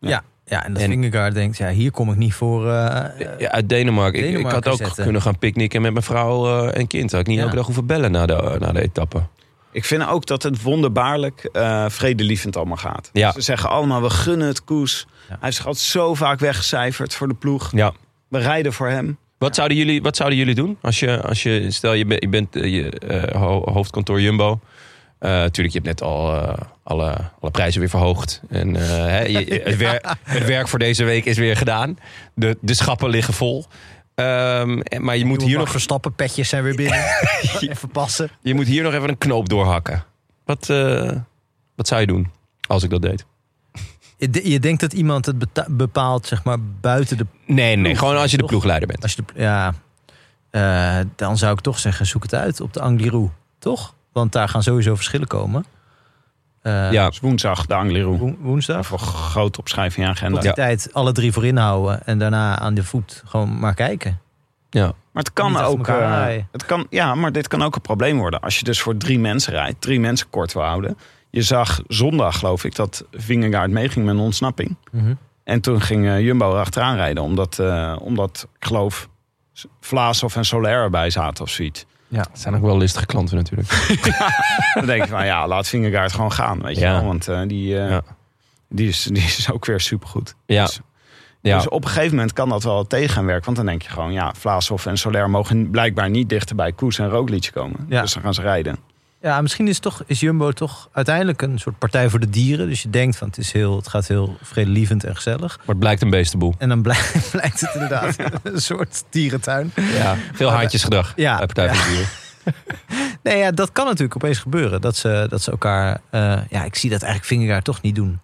B: Ja, ja en dat
C: En-
B: Vingegaard denkt, ja, hier kom ik niet voor. eh,
C: Ja, uit Denemarken. Ik- Ik,
B: Denemarken
C: had ook
B: zetten.
C: kunnen gaan picknicken met mijn vrouw eh, en kind. Had ik niet
B: Ja.
C: elke dag hoeven bellen na de, na de etappe.
A: Ik vind ook dat het wonderbaarlijk eh vredelievend allemaal gaat.
C: Ja.
A: Ze zeggen allemaal: we gunnen het Koes.
B: Ja.
A: Hij heeft zich altijd zo vaak weggecijferd voor de ploeg.
C: Ja.
A: We rijden voor hem.
C: Wat, zouden jullie, wat zouden jullie doen? Als je, als je stel je, bent- je bent eh, je, eh, ho- hoofdkantoor Jumbo. Eh, tuurlijk, je hebt net al eh, alle, alle prijzen weer verhoogd. En eh, hè, je- je- het, wer- het werk voor deze week is weer gedaan. De, de schappen liggen vol. Ehm, en- maar je moet, hier nog,
B: verstappen, petjes zijn weer binnen. Even passen.
C: je moet hier nog even een knoop doorhakken. Wat, eh, wat zou je doen als ik dat deed?
B: Je de- Je denkt dat iemand het beta- bepaalt, zeg maar, buiten de...
C: Nee, nee, gewoon als je de
B: toch?
C: ploegleider bent.
B: Als je de ja, eh, dan zou ik toch zeggen, zoek het uit op de Angliru. Toch? Want daar gaan sowieso verschillen komen. Eh,
C: Ja,
A: is woensdag de Angleroo.
B: wo- woensdag.
A: Even een grote opschrijving in je
B: Tot
A: agenda.
B: die tijd alle drie voorin houden. En daarna aan de voet gewoon maar kijken.
C: ja.
A: Maar het kan
B: Niet achter
A: ook.
B: elkaar
A: eh,
B: rijden.
A: het kan, ja, maar dit kan ook een probleem worden. Als je dus voor drie mensen rijdt, drie mensen kort wil houden. Je zag zondag, geloof ik, dat Vingegaard meeging met een ontsnapping.
B: Mhm.
A: En toen ging eh, Jumbo erachteraan rijden, omdat, eh, omdat ik geloof, S- Vlaashoff en Soler erbij zaten of zoiets.
B: Ja.
C: Het zijn ook wel listige klanten natuurlijk.
A: Dan denk ik van ja, laat Vingegaard gewoon gaan, weet je
C: Ja.
A: wel. Want eh, die, eh,
C: Ja.
A: die, is, die is ook weer supergoed.
C: Ja.
A: Dus-
C: Ja.
A: Dus op een gegeven moment kan dat wel tegen gaan werken. Want dan denk je gewoon, ja, Vlaashoff en Soler mogen blijkbaar niet dichter bij Koes en Roglic komen.
B: Ja.
A: Dus dan gaan ze rijden.
B: Ja, misschien is, toch, is Jumbo toch uiteindelijk een soort partij voor de dieren. Dus je denkt van het, is heel, het gaat heel vredelievend en gezellig.
C: Maar het blijkt een beestenboel.
B: En dan blijkt, blijkt het inderdaad een soort dierentuin.
C: Ja. Veel haantjesgedrag
B: Ja.
C: bij Partij van de Dieren.
B: Nee, ja, dat kan natuurlijk opeens gebeuren. Dat ze, dat ze elkaar... eh, ja, ik zie dat eigenlijk Vingegaard toch niet doen.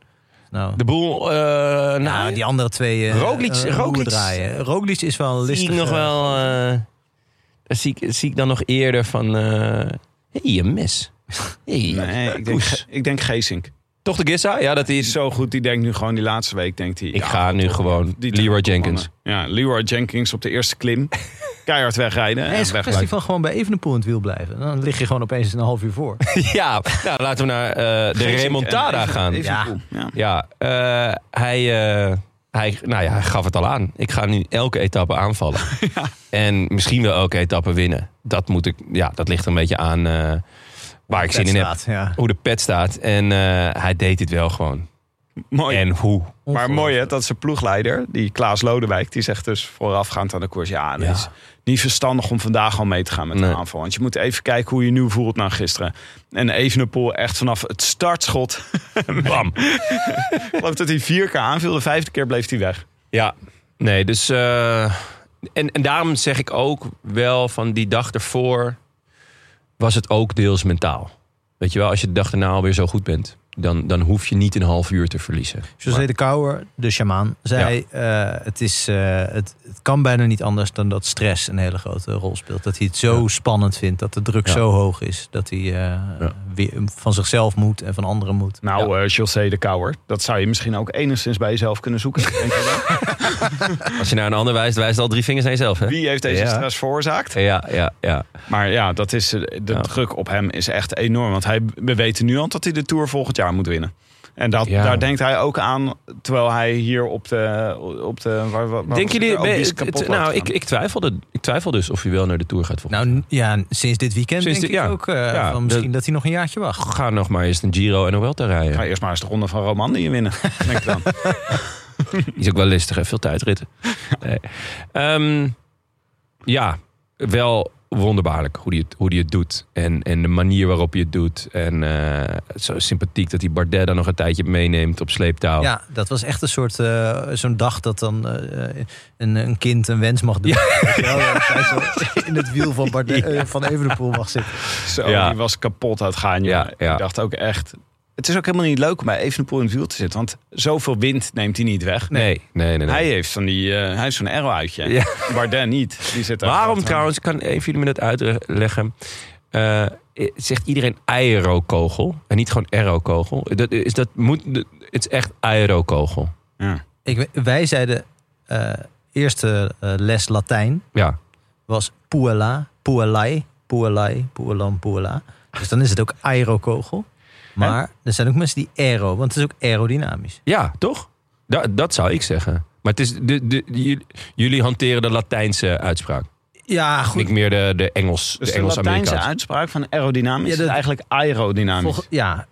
B: Nou,
C: De boel, eh nou,
B: nou, die andere twee... eh
C: Roglic-
B: eh, roeren
C: Roglic-
B: draaien. Roglic is wel een
C: zie
B: listige...
C: ik nog wel. eh, daar zie ik, zie ik dan nog eerder van. eh hey, een mes. Hey,
A: Nee, ik denk,
C: Koes.
A: ik denk Geesink.
C: Toch de Gissa? Ja, dat
A: Die
C: hij.
A: is zo goed, die denkt nu gewoon die laatste week, denkt hij...
C: Ik
A: ja,
C: ga nu gewoon.
A: die
C: Leroy
A: mannen.
C: Jenkins.
A: Ja, Leroy Jenkins op de eerste klim. Keihard wegrijden
B: Nee, het
A: en
B: is een kwestie
A: wegrijden.
B: van gewoon bij Evenepoel in het wiel blijven. Dan lig je gewoon opeens een half uur voor.
C: ja, nou, laten we naar eh, de remontada gaan.
A: ja.
B: Ja.
A: ja.
C: Ja, eh, hij, eh, hij, nou ja, hij gaf het al aan. Ik ga nu elke etappe aanvallen. En misschien wel elke etappe winnen. Dat, moet ik, ja, dat ligt een beetje aan eh, waar ik zin in heb.
B: Staat, ja.
C: Hoe de pet staat. En eh, hij deed dit wel gewoon.
A: Mooi.
C: En hoe.
A: maar mooi hè, dat zijn ploegleider, die Klaas Lodewijk, die zegt dus voorafgaand aan de koers... Ja, dat
C: Ja.
A: is niet verstandig om vandaag al mee te gaan met
C: Nee.
A: de aanval. Want je moet even kijken hoe je nu voelt na gisteren. En Evenepoel echt vanaf het startschot...
C: Bam.
A: Ik geloof dat hij vier keer aanviel, de vijfde keer bleef hij weg.
C: Ja, nee, dus. eh, en, en daarom zeg ik ook wel van die dag ervoor. was het ook deels mentaal. Weet je wel, als je de dag erna alweer zo goed bent. dan, dan hoef je niet een half uur te verliezen.
B: José de Kouwer, de sjamaan, zei... eh, het, is, eh, het, het kan bijna niet anders dan dat stress een hele grote rol speelt. Dat hij het zo spannend vindt, dat de druk
C: Ja.
B: zo hoog is... dat hij eh,
C: Ja.
B: weer van zichzelf moet en van anderen moet.
A: Nou, eh, José de Kouwer, dat zou je misschien ook enigszins bij jezelf kunnen zoeken. Denk je wel?
C: Maar als je naar een ander wijst, wijst al drie vingers naar jezelf. Hè?
A: Wie heeft deze
C: Ja.
A: stress veroorzaakt?
C: Ja, ja, ja.
A: Maar ja, dat is, eh, de
C: Ja.
A: druk op hem is echt enorm. Want hij, we weten nu al dat hij de Tour volgend jaar moet winnen. En dat,
C: Ja.
A: daar denkt hij ook aan, terwijl hij hier op de... Op de waar- waar, waar
C: Denk jullie.
A: waar
C: ben-
A: Obis
C: het-
A: kapot
C: het-
A: laat
C: nou,
A: gaan.
C: ik, ik, twijfelde, ik twijfel dus of hij wel naar de tour gaat volgen.
B: Nou n- ja, sinds dit weekend
C: Sinds
B: denk
C: dit-
B: ik
C: ja.
B: ook. eh,
C: Ja,
B: van misschien
C: dat-
B: dat... hij nog een jaartje wacht.
C: ga nog maar eens een Giro en een Vuelta rijden.
A: Nou. Ga eerst maar eens de ronde van Romandie winnen, denk ik dan.
C: Die is ook wel listig, hè? veel tijdritten. Nee. Ehm, ja, wel wonderbaarlijk hoe hij het, hoe die het doet. En, en de manier waarop hij het doet. En eh, zo sympathiek dat hij Bardet dan nog een tijdje meeneemt op sleeptouw.
B: Ja, dat was echt een soort eh, zo'n dag dat dan eh, een, een kind een wens mag doen. Weet je wel, dat hij zo in het wiel van, Bardet, eh, van Evenepoel mag zitten.
A: Zo,
C: Ja.
A: die was kapot aan het gaan. jongen.
C: Ja, ja.
A: Ik dacht ook echt... Het is ook helemaal niet leuk om bij Evenepoel in het wiel te zitten. Want zoveel wind neemt hij niet weg.
C: Nee, nee, nee. nee.
A: Hij heeft, van die, eh, hij heeft zo'n arrow uitje.
C: Ja.
A: Bardet niet. Die zit daar
C: Waarom
A: gewoon-
C: trouwens, kan een van jullie me dat uitleggen? Eh, zegt iedereen aerokogel en niet gewoon aerokogel? Dat, is dat moet, dat- het is echt aerokogel.
A: Ja.
B: Ik, weet- wij zeiden eh, eerste eh, les Latijn
C: Ja,
B: was puella, puellai, puellai, puellam, puella. Dus dan is het ook aerokogel. Maar er zijn ook mensen die aero, want het is ook aerodynamisch.
C: ja toch? Da- dat zou ik zeggen. Maar het is de, de, jullie- jullie hanteren de Latijnse uitspraak.
B: Ja,
C: Niet meer de, de Engels,
A: Dus
C: de
A: de Latijnse
C: Engels-Amerikaanse.
A: uitspraak van aerodynamisch
B: Ja, dat-
A: is eigenlijk aerodynamisch.
B: Volg- ja,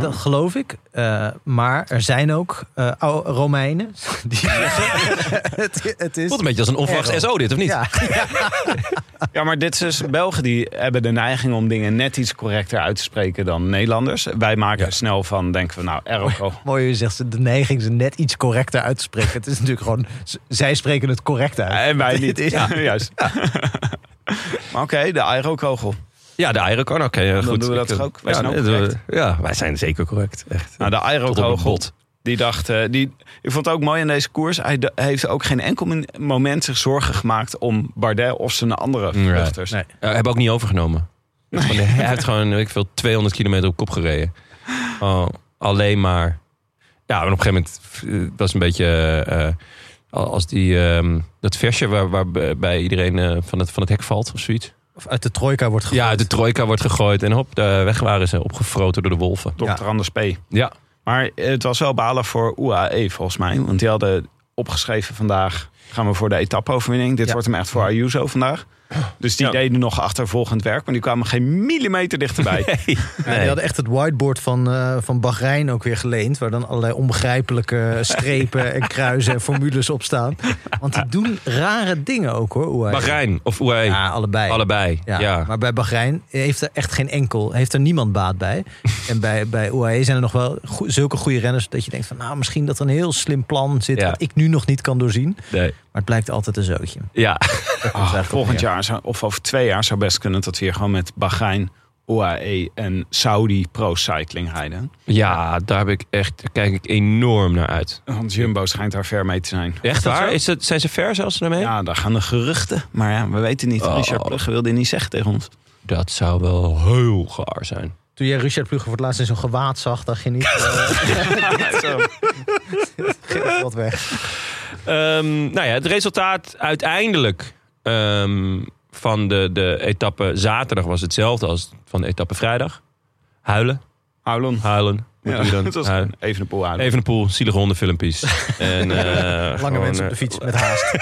B: Dat geloof ik. Eh, maar er zijn ook eh, oude Romeinen. Die het, het is.
C: Voelt een beetje als een onverwachts
B: Errol.
C: SO dit, of niet?
B: Ja,
A: Ja, maar dit is dus, Belgen die hebben de neiging om dingen net iets correcter uit te spreken dan Nederlanders. Wij maken er snel van, denken we nou, Ergo.
B: mooi je zegt ze de neiging ze net iets correcter uit te spreken. Het is natuurlijk gewoon, z- zij spreken het correct uit.
A: En wij niet.
B: Dit is-
A: Ja, juist. Maar oké, de aero-kogel. Nou,
C: Ja, de Iron Oké, eh, goed.
A: doen we dat
C: Ik,
A: toch ook? Wij
C: ja,
A: zijn ook
C: nee, dat-
A: correct.
C: ja, wij zijn zeker correct. Echt.
A: Nou, de
C: Tot op het
A: aero-kogel.
C: bot.
A: Die dacht, eh, die, ik vond het ook mooi in deze koers. Hij d- heeft ook geen enkel min- moment zich zorgen gemaakt om Bardet of zijn andere
C: Right.
A: vluchters.
B: Nee.
C: Ja, Eh, hebben ook niet overgenomen. Gewoon de- Hij heeft gewoon, weet ik veel, 200 kilometer op kop gereden. Oh, alleen maar. Ja, en op een gegeven moment eh, was een beetje. eh, eh, als die, ehm, dat versje waar, waarbij iedereen eh, van, het, van het hek valt of zoiets.
B: Of uit de trojka wordt gegooid.
C: Ja, uit de trojka wordt gegooid en hop, de weg waren ze opgefroten door de wolven.
A: Dr. Anders P.
C: Ja,
A: Maar het was wel balen voor UAE volgens mij. Want die hadden opgeschreven vandaag gaan we voor de etappe-overwinning. Dit
B: Ja.
A: wordt hem echt voor Ayuso vandaag. Dus die
C: Ja.
A: deden nog achtervolgend werk. Maar die kwamen geen millimeter dichterbij.
B: Ja, die hadden echt het whiteboard van, eh, van Bahrein ook weer geleend. Waar dan allerlei onbegrijpelijke strepen en kruisen en formules op staan. Want die doen rare dingen ook hoor. UAE.
C: Bahrein of UAE.
B: Ja, allebei.
C: Allebei.
B: Ja,
C: Ja.
B: Maar bij Bahrein heeft er echt geen enkel, heeft er niemand baat bij. en bij, bij UAE zijn er nog wel goe- zulke goede renners dat je denkt van nou misschien dat er een heel slim plan zit
C: Ja.
B: wat ik nu nog niet kan doorzien.
C: Nee.
B: Maar het blijkt altijd een zootje.
C: ja.
A: Ah, volgend jaar zou- of over twee jaar zou best kunnen dat we hier gewoon met Bahrein, UAE en Saudi Pro Cycling rijden.
C: ja, daar, heb ik echt, daar kijk ik enorm naar uit.
A: Want Jumbo schijnt daar ver mee te zijn.
C: Echt
B: dat
C: waar?
B: zo?
C: Is dat, zijn ze ver zelfs daarmee?
A: Ja, daar gaan de geruchten. Maar ja, we weten niet.
C: Oh.
A: Richard Plugge wilde niet zeggen tegen ons.
C: Dat zou wel heel gaar zijn.
B: Toen jij Richard Plugge voor het laatst in zo'n gewaad zag, dacht je niet. eh, Geef wat weg.
C: Ehm, nou ja, het resultaat uiteindelijk ehm, van de, de etappe zaterdag was hetzelfde als van de etappe vrijdag. Huilen,
A: Houlon.
C: huilen. Wat doe je dan?
A: dat was
C: Huilen.
A: even een poel aan.
C: Even een poel, zielige hondenfilmpjes. en, eh,
B: Lange
C: gewoon,
B: mensen op de
C: eh,
B: fiets met haast.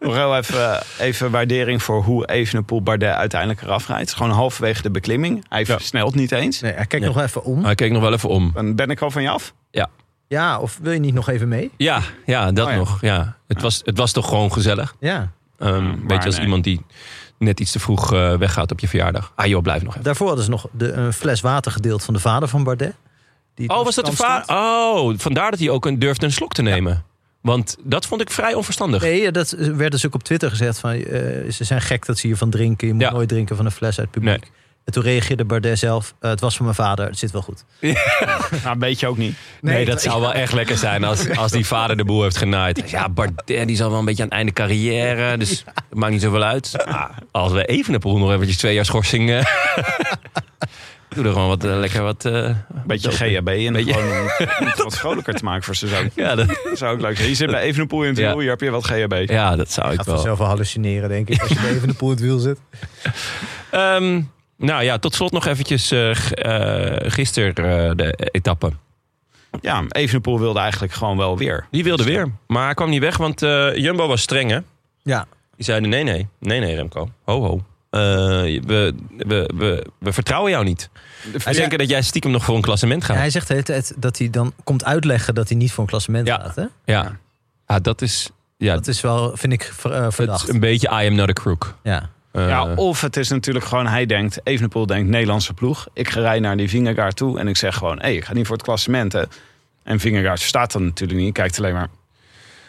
A: Nog heel even, eh, even waardering voor hoe Evenepoel Bardet uiteindelijk eraf rijdt. Het is Gewoon halverwege de beklimming. Hij versnelt niet eens.
B: Nee, kijk
C: Ja.
B: nog wel even om.
C: Hij keek nog wel even om.
A: Dan ben ik al van je af.
B: Ja, of wil je niet nog even mee?
C: Ja, ja dat
A: Oh ja.
C: nog. Ja. Het, Was, het was toch gewoon gezellig.
B: Ja.
C: Ehm
A: Ja,
C: weet
A: maar
C: je, als
A: nee.
C: iemand die net iets te vroeg eh, weggaat op je verjaardag. Ah joh, blijf nog even.
B: Daarvoor hadden ze nog de, een fles water gedeeld van de vader van Bardet. Die
C: Oh, was dat de
B: stand
C: vader? Oh, vandaar dat hij ook een, durfde een slok te nemen. Want dat vond ik vrij onverstandig.
B: stond. Nee, dat werd dus ook op Twitter gezegd van eh, ze zijn gek dat ze hiervan drinken. Je moet
C: Ja.
B: nooit drinken van een fles uit het publiek.
C: Nee.
B: En toen reageerde Bardet zelf, eh, het was van mijn vader, het zit wel goed.
A: Nou, weet je ook niet.
C: Nee,
B: Nee,
C: dat
B: dat-
C: zou wel echt lekker zijn als, als die vader de boel heeft genaaid. Ja, Bardet die zal wel een beetje aan het einde carrière. Dus het maakt niet zoveel uit. Maar als we even een poel nog eventjes twee jaar schorsing... eh, doe er gewoon wat, eh, lekker wat... eh,
A: Beetje
C: doop.
A: GHB. En
C: Beetje-
A: gewoon om het wat vrolijker te maken voor Suzanne.
C: Ja, dat,
A: Dat zou ook leuk zijn. Je zit bij Evenepoel in het
C: Ja.
A: wiel. Hier heb je wat GHB.
C: ja, dat zou ik
B: Gaat
C: wel.
B: vanzelf wel hallucineren, denk ik, als je even in de poel in het wiel zit.
C: Ehm, nou ja, tot slot nog eventjes eh, g- eh, gisteren eh, de etappe.
A: Ja, Evenepoel wilde eigenlijk gewoon wel weer. Dus
C: Die wilde weer, maar hij kwam niet weg, want eh, Jumbo was streng, hè?
B: Ja.
C: Die zeiden, nee, nee, nee, nee, Remco. Ho, ho. Eh, we, we, we, we vertrouwen jou niet. Hij denken dat jij stiekem nog voor een klassement gaat. Ja,
B: Hij zegt de hele tijd dat hij dan komt uitleggen dat hij niet voor een klassement
C: Ja.
B: gaat. Hè?
C: ja. dat is, ja,
B: Dat is wel, vind ik, ver- eh,
C: het
B: verdacht.
C: is een beetje I am not a crook.
B: Ja.
C: Eh,
A: Ja, of het is natuurlijk gewoon, hij denkt, Evenepoel denkt, Nederlandse ploeg. Ik ga rijden naar die Vingegaard toe en ik zeg gewoon, hé, hey, ik ga niet voor het klassement, hè. En Vingegaard staat dan natuurlijk niet, kijkt alleen maar,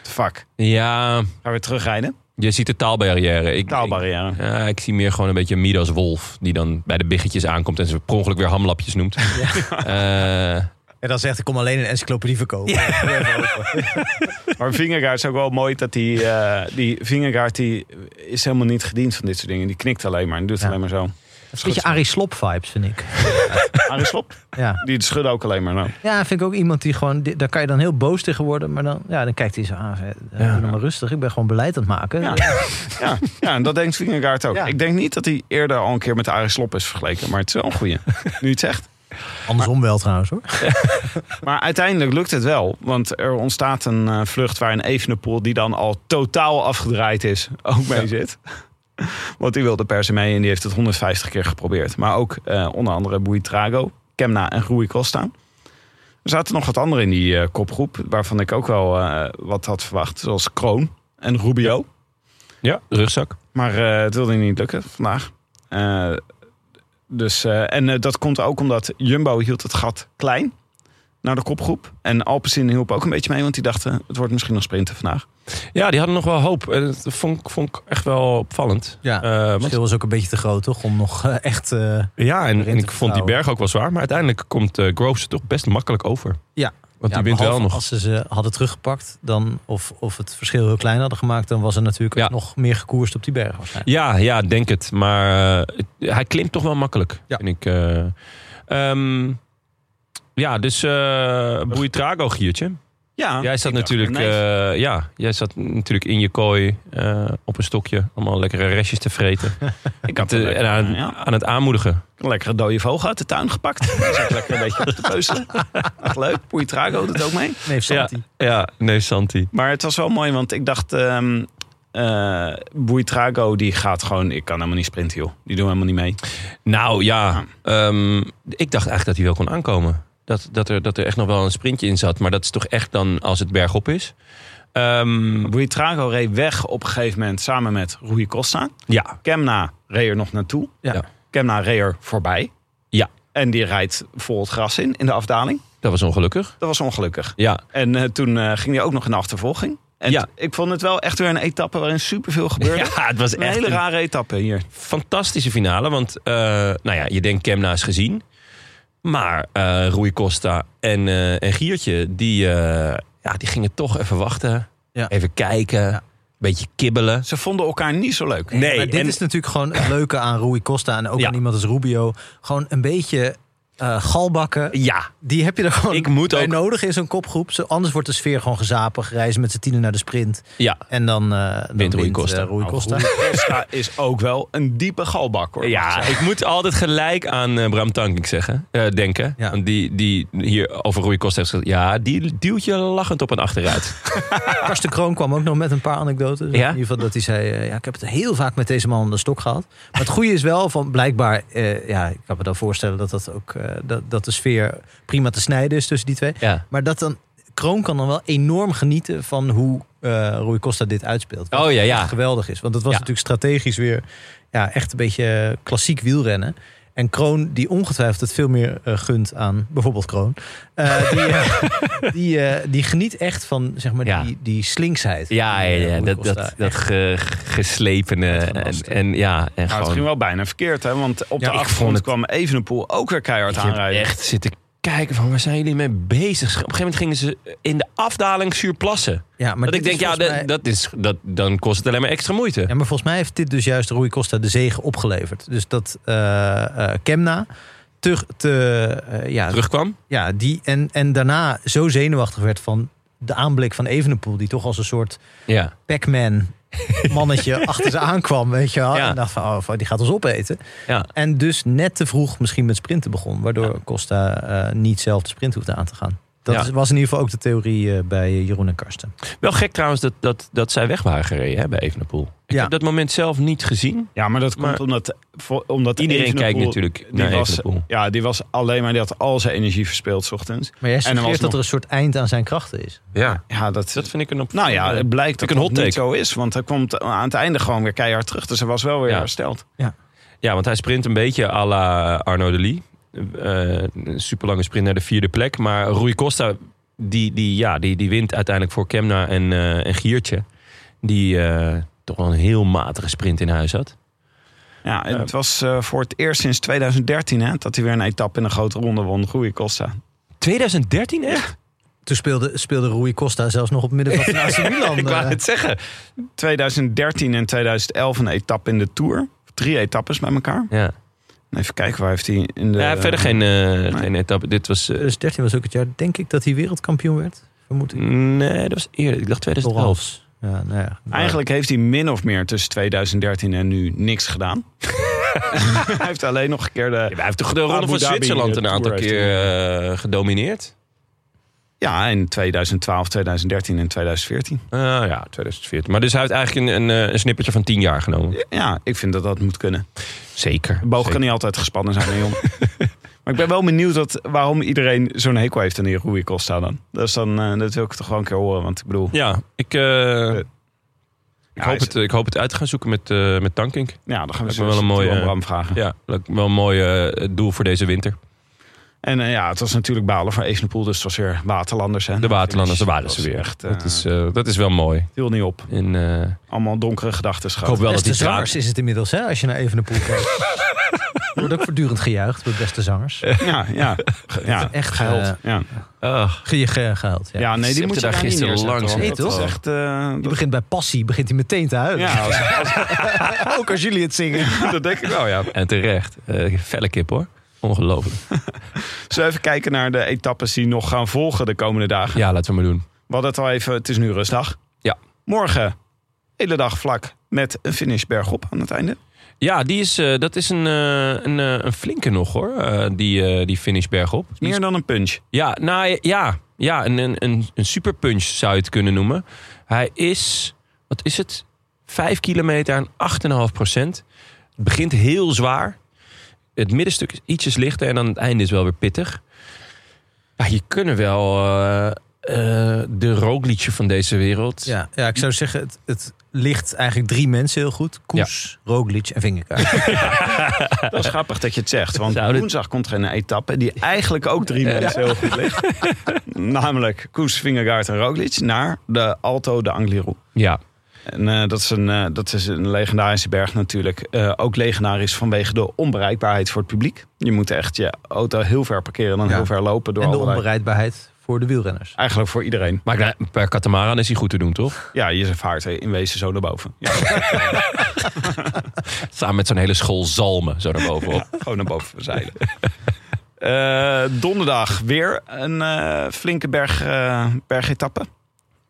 A: fuck.
C: ja,
A: Gaan we weer terugrijden?
C: je ziet de taalbarrière. Ik,
A: Taalbarrière.
C: Ik, ja, ik zie meer gewoon een beetje Midas Wolf, die dan bij de biggetjes aankomt en ze per ongeluk weer hamlapjes noemt. Eh,
B: En dan zegt hij, kom alleen een encyclopedie verkopen.
A: Maar Vingegaard is ook wel mooi dat die, eh, die Vingegaard die is helemaal niet gediend van dit soort dingen. Die knikt alleen maar en doet
B: Ja.
A: alleen maar zo.
B: Een beetje Arie Slop vibes, vind ik.
A: Aris Slob,
B: Ja.
A: die schudde ook alleen maar. Nou,
B: Ja, vind ik ook iemand die gewoon... di- Daar kan je dan heel boos tegen worden. Maar dan, ja, dan kijkt hij zo aan. Zeg, doe nou maar rustig. Ik ben gewoon beleid aan het maken.
A: Ja. ja, ja, en dat denkt Vingegaard ook.
B: Ja.
A: Ik denk niet dat hij eerder al een keer met Aris Slob is vergeleken, maar het is wel een goeie. Nu je het zegt.
B: Andersom wel trouwens, hoor.
A: Maar uiteindelijk lukt het wel. Want er ontstaat een eh, vlucht waar een Evenepoel... die dan al totaal afgedraaid is, ook mee zit. Want die wilde per se mee en die heeft het 150 keer geprobeerd. Maar ook eh, onder andere Buitrago, Kemna en Rui Costa. Er zaten nog wat anderen in die eh, kopgroep, waarvan ik ook wel eh, wat had verwacht. Zoals Kroon en Rubio.
C: Ja, rugzak.
A: Maar eh, het wilde niet lukken vandaag. Eh, dus, eh, en eh, dat komt ook omdat Jumbo hield het gat klein naar de kopgroep. En Alpecin hielp ook een beetje mee, want die dachten... het wordt misschien nog sprinten vandaag.
C: Ja, die hadden nog wel hoop. En dat vond, ik- vond ik echt wel opvallend.
B: Ja,
C: Eh,
B: het
C: want-
B: verschil was ook een beetje te groot, toch? Om nog eh, echt... eh,
C: ja en, en ik vond die
B: vertrouwen.
C: berg ook wel zwaar. Maar uiteindelijk komt eh Groves er toch best makkelijk over.
B: Ja.
C: Want
B: ja,
C: die wint wel
B: behalve
C: nog.
B: Als ze ze hadden teruggepakt, dan, of, of het verschil heel klein hadden gemaakt... dan was er natuurlijk
C: Ja.
B: ook nog meer gekoerst op die berg. waarschijnlijk.
C: Ja, ja, denk het. Maar eh, het- hij klimt toch wel makkelijk.
B: Ja.
C: Vind ik, eh. Ehm, ja, dus eh Boeitrago, Giertje.
A: Ja,
C: Jij zat,
A: Ah, ik dacht,
C: natuurlijk,
A: nee.
C: eh, ja, jij zat natuurlijk in je kooi eh, op een stokje. Allemaal lekkere restjes te vreten.
A: ik had
C: Te-
A: een lekker-
C: en aan,
A: eh, ja,
C: aan het aanmoedigen.
A: een lekkere dode vogel uit de tuin gepakt. Die zat lekker een beetje op te peuzelen. Echt leuk, Poeitrago doet ook mee.
B: Nee, Santi.
C: Ja, nee, Santi.
A: Maar het was wel mooi, want ik dacht... ehm eh, Buitrago, die gaat gewoon... ik kan helemaal niet sprinten, joh. Die doen helemaal niet mee.
C: Nou ja, ehm, ik dacht eigenlijk dat hij wel kon aankomen. Dat, dat, er, dat er echt nog wel een sprintje in zat. Maar dat is toch echt dan als het bergop is. Ehm,
A: Buitrago reed weg op een gegeven moment samen met Rui Costa.
C: ja,
A: Kemna reed er nog naartoe.
B: Ja.
C: Ja.
A: Kemna reed er voorbij.
C: Ja.
A: En die rijdt vol het gras in, in de afdaling.
C: dat was ongelukkig.
A: Dat was ongelukkig.
C: Ja,
A: En eh, toen eh, ging hij ook nog in de achtervolging. En
C: Ja.
A: t- ik vond het wel echt weer een etappe waarin superveel gebeurde.
C: Ja, het was
A: een
C: echt
A: hele
C: een
A: rare etappe hier.
C: fantastische finale. Want eh, nou ja, je denkt Kemna is gezien. Maar eh Rui Costa en, eh, en Giertje, die, eh, ja, die gingen toch even wachten.
B: Ja.
C: Even kijken. Een beetje kibbelen.
A: Ze vonden elkaar niet zo leuk.
C: Nee,
B: maar dit
C: en-
B: is natuurlijk gewoon het leuke aan Rui Costa en ook
C: Ja.
B: aan iemand als Rubio. Gewoon een beetje eh, galbakken.
C: Ja,
B: Die heb je er gewoon
C: Ik moet
B: bij
C: ook-
B: nodig in zo'n kopgroep. Zo, anders wordt de sfeer gewoon gezapig. Reizen met z'n tienen naar de sprint.
C: ja.
B: En dan, eh dan
C: Wint Rui
B: eh,
C: Costa.
B: Rui Costa.
A: Rui Costa is ook wel een diepe galbak hoor.
C: Ja, ik moet altijd gelijk aan eh, Bram Tankink zeggen, eh, denken.
B: Ja.
C: Want Die, die hier over Rui Costa heeft gezegd... ja, die duwt je lachend op en achteruit.
B: Karsten Kroon kwam ook nog met een paar anekdotes.
C: Ja?
B: In ieder geval dat hij zei, eh, ja, ik heb het heel vaak met deze man aan de stok gehad. Maar het goede is wel, van blijkbaar, eh, ja, ik kan me dan voorstellen dat, dat, ook, eh, dat, dat de sfeer prima te snijden is tussen die twee.
C: ja.
B: Maar dat dan, Kroon kan dan wel enorm genieten van hoe eh Rui Costa dit uitspeelt. Wat
C: Oh ja,
B: echt
C: ja.
B: geweldig is. Want het was
C: Ja.
B: natuurlijk strategisch weer ja, echt een beetje eh, klassiek wielrennen. En Kroon, die ongetwijfeld het veel meer eh, gunt aan bijvoorbeeld Kroon. eh, die, eh, die, eh, die geniet echt van zeg maar,
C: Ja.
B: die, die slinksheid.
C: Ja,
B: Die,
C: ja,
B: eh,
C: ja,
B: Rui
C: dat,
B: Costa
C: dat, dat
B: echt-
C: ge- geslepene en,
B: Uitgelast.
C: en, ja, en
A: Maar het
C: gewoon...
A: ging wel bijna verkeerd, hè? Want op
C: Ja,
A: de
C: ik
A: achtergrond
C: vond het-
A: kwam Evenepoel ook weer keihard
C: Ik heb
A: aanrijden.
C: echt zitten kijken van waar zijn jullie mee bezig? Op een gegeven moment gingen ze in de afdaling zuurplassen.
B: ja, maar
C: Dat ik
B: dit
C: denk,
B: is
C: ja,
B: volgens
C: dat,
B: mij-
C: dat is, dat, dan kost het alleen maar extra moeite.
B: Ja, maar volgens mij heeft dit dus juist Rui Costa de zegen opgeleverd. Dus dat eh, eh, Kemna te, te, eh, ja,
C: Terugkwam.
B: ja, die, en, en daarna zo zenuwachtig werd van de aanblik van Evenepoel... die toch als een soort
C: Ja.
B: Pac-Man mannetje achter ze aankwam, weet je wel.
C: Ja.
B: En dacht van, oh, van, die gaat ons opeten.
C: Ja.
B: En dus net te vroeg misschien met sprinten begon. Waardoor Costa eh, niet zelf de sprint hoefde aan te gaan. Dat
C: Ja.
B: is- was in ieder geval ook de theorie eh, bij Jeroen en Karsten.
C: Wel gek trouwens dat, dat, dat zij weg waren gereden hè, bij Evenepoel. Ik
B: Ja.
C: heb dat moment zelf niet gezien.
A: Ja, maar dat komt
C: Maar-
A: omdat, vo- omdat
C: Iedereen
A: Evenepoel-
C: kijkt natuurlijk
A: die
C: naar
A: was,
C: Evenepoel.
A: Ja, die was alleen maar, die had al zijn energie verspeeld 's ochtends.
B: Maar jij
A: En dan was
B: suggereert dat
A: nog-
B: er een soort eind aan zijn krachten is.
C: Ja.
A: Ja, dat,
C: Dat vind ik een op.
A: nou ja, het blijkt dat
C: een
A: het
C: hot take.
A: niet zo is. Want hij komt aan het einde gewoon weer keihard terug. Dus hij was wel weer
C: Ja.
A: hersteld.
C: Ja, want hij sprint een beetje à la Arno de Lee. Eh, een superlange sprint naar de vierde plek. Maar Rui Costa, die, die, ja, die, die wint uiteindelijk voor Kemna en, eh, en Giertje. Die eh, toch wel een heel matige sprint in huis had.
A: Ja, en het was eh, voor het eerst sinds 2013 hè, dat hij weer een etappe in een grote ronde won. Goeie Costa.
C: 2013 echt?
B: Toen speelde, speelde Rui Costa zelfs nog op het middenveld van AC Milan.
C: Ik wou
B: eh.
C: het zeggen.
A: 2013 en 2011 een etappe in de Tour. Drie etappes bij elkaar.
C: Ja.
A: En Even kijken, waar heeft hij in de...
C: ja, verder geen, eh, geen etappe. Dit was... eh,
B: 2013 Dus was ook het jaar, denk ik, dat hij wereldkampioen werd. Vermoed ik.
C: nee, dat was eerder. Ik dacht 2011.
B: Orals. Ja, nou ja.
A: Eigenlijk heeft hij min of meer tussen 2013 en nu niks gedaan. hij heeft alleen nog een keer de...
C: Ja, maar hij heeft toch de Ronde
A: Abu
C: van
A: eh, Dhabi,
C: Zwitserland
A: de
C: een aantal
A: Tour heeft
C: keer eh, gedomineerd?
A: Ja, in 2012, 2013 en 2014.
C: Ah, ja, 2014. Maar dus hij heeft eigenlijk een, een, eh, een snippertje van 10 jaar genomen.
A: Ja, ik vind dat dat moet kunnen.
C: Zeker.
A: De boog
C: Zeker.
A: kan niet altijd gespannen zijn, hè, jong. maar ik ben wel benieuwd dat, waarom iedereen zo'n hekel heeft aan die Rui Costa dan. Dat, is dan eh, dat wil ik toch gewoon een keer horen, want ik bedoel...
C: Ja, ik, eh, ik,
A: ja,
C: hoop
A: is-
C: het, ik hoop het uit te gaan zoeken met, eh met Tankink.
A: Ja, dan gaan we
C: Lijkt
A: zo
C: me wel een
A: zo
C: mooie- eh,
A: aan Bram vragen.
C: Ja, lijkt me wel een mooi eh, doel voor deze winter.
A: En eh, ja, het was natuurlijk balen voor Evenepoel, dus het was weer Waterlanders. Hè.
C: De Waterlanders, daar
A: Dat
C: waren ze
A: was
C: weer.
A: Echt,
C: dat, is,
A: het
C: eh, dat is wel mooi.
A: viel niet op.
C: En, eh,
A: Allemaal donkere gedachten
C: ik hoop
A: schat.
C: wel dat
B: Beste
C: die
B: zangers
C: traat...
B: is het inmiddels, hè, als je naar even de poel kijkt. Wordt ook voortdurend gejuicht door beste zangers.
A: Ja, ja. Ge- ja.
B: Echt
A: Gehuild.
B: eh,
A: ja.
C: Ach,
B: ge- ge- gehuild. Ja.
A: ja, nee, die
C: Zipte
A: moet je
C: daar
A: daar
C: gisteren
A: niet neerzetten,
C: langs,
A: hoor.
B: nee,
A: Dat is
B: toch?
A: echt... eh,
B: Die
A: dat-
B: begint bij passie, begint hij meteen te huilen.
A: ja, als-
B: Ook als jullie het zingen.
C: dat denk ik wel, ja. En terecht. Eh felle kip, hoor. Ongelooflijk.
A: Zullen we even kijken naar de etappes die nog gaan volgen de komende dagen?
C: Ja, laten we maar doen.
A: We hadden het al even, het is nu rustdag.
C: Ja.
A: Morgen, hele dag vlak, met een finish bergop aan het einde.
C: Ja, die is, eh, dat is een, eh, een, eh, een flinke nog, hoor. eh, die, eh, die finish bergop. Die is
A: Meer dan een punch.
C: Ja, nou ja, ja een, een, een, een superpunch zou je het kunnen noemen. Hij is, wat is het? Vijf kilometer aan 8,5 procent. Het begint heel zwaar. Het middenstuk is ietsjes lichter en aan het einde is wel weer pittig. Ja, je kunnen wel eh, eh, de rookliedje van deze wereld.
B: Ja, ja, ik zou zeggen, het, het ligt eigenlijk drie mensen heel goed. Koes, Roglic en Vingerkaart.
A: Dat is grappig dat je het zegt, want
C: Zou dit-
A: woensdag komt er een etappe die eigenlijk ook drie mensen heel goed ligt. Namelijk Koes, Vingegaard en Roglic naar de Alto de Angliru.
C: Ja,
A: En eh, dat, is een, eh, dat is een legendarische berg natuurlijk. Eh, ook legendarisch vanwege de onbereikbaarheid voor het publiek. Je moet echt je auto heel ver parkeren en dan
B: Ja.
A: heel ver lopen door
B: En de
A: allerlei-
B: onbereikbaarheid voor de wielrenners.
A: Eigenlijk voor iedereen.
C: maar per katamaran is hij goed te doen, toch?
A: Ja, je vaart in wezen zo naar boven. Ja,
C: Samen met zo'n hele school zalmen, zo daarbovenop.
A: gewoon naar boven zeilen. Eh, donderdag weer een eh, flinke berg, eh, bergetappe.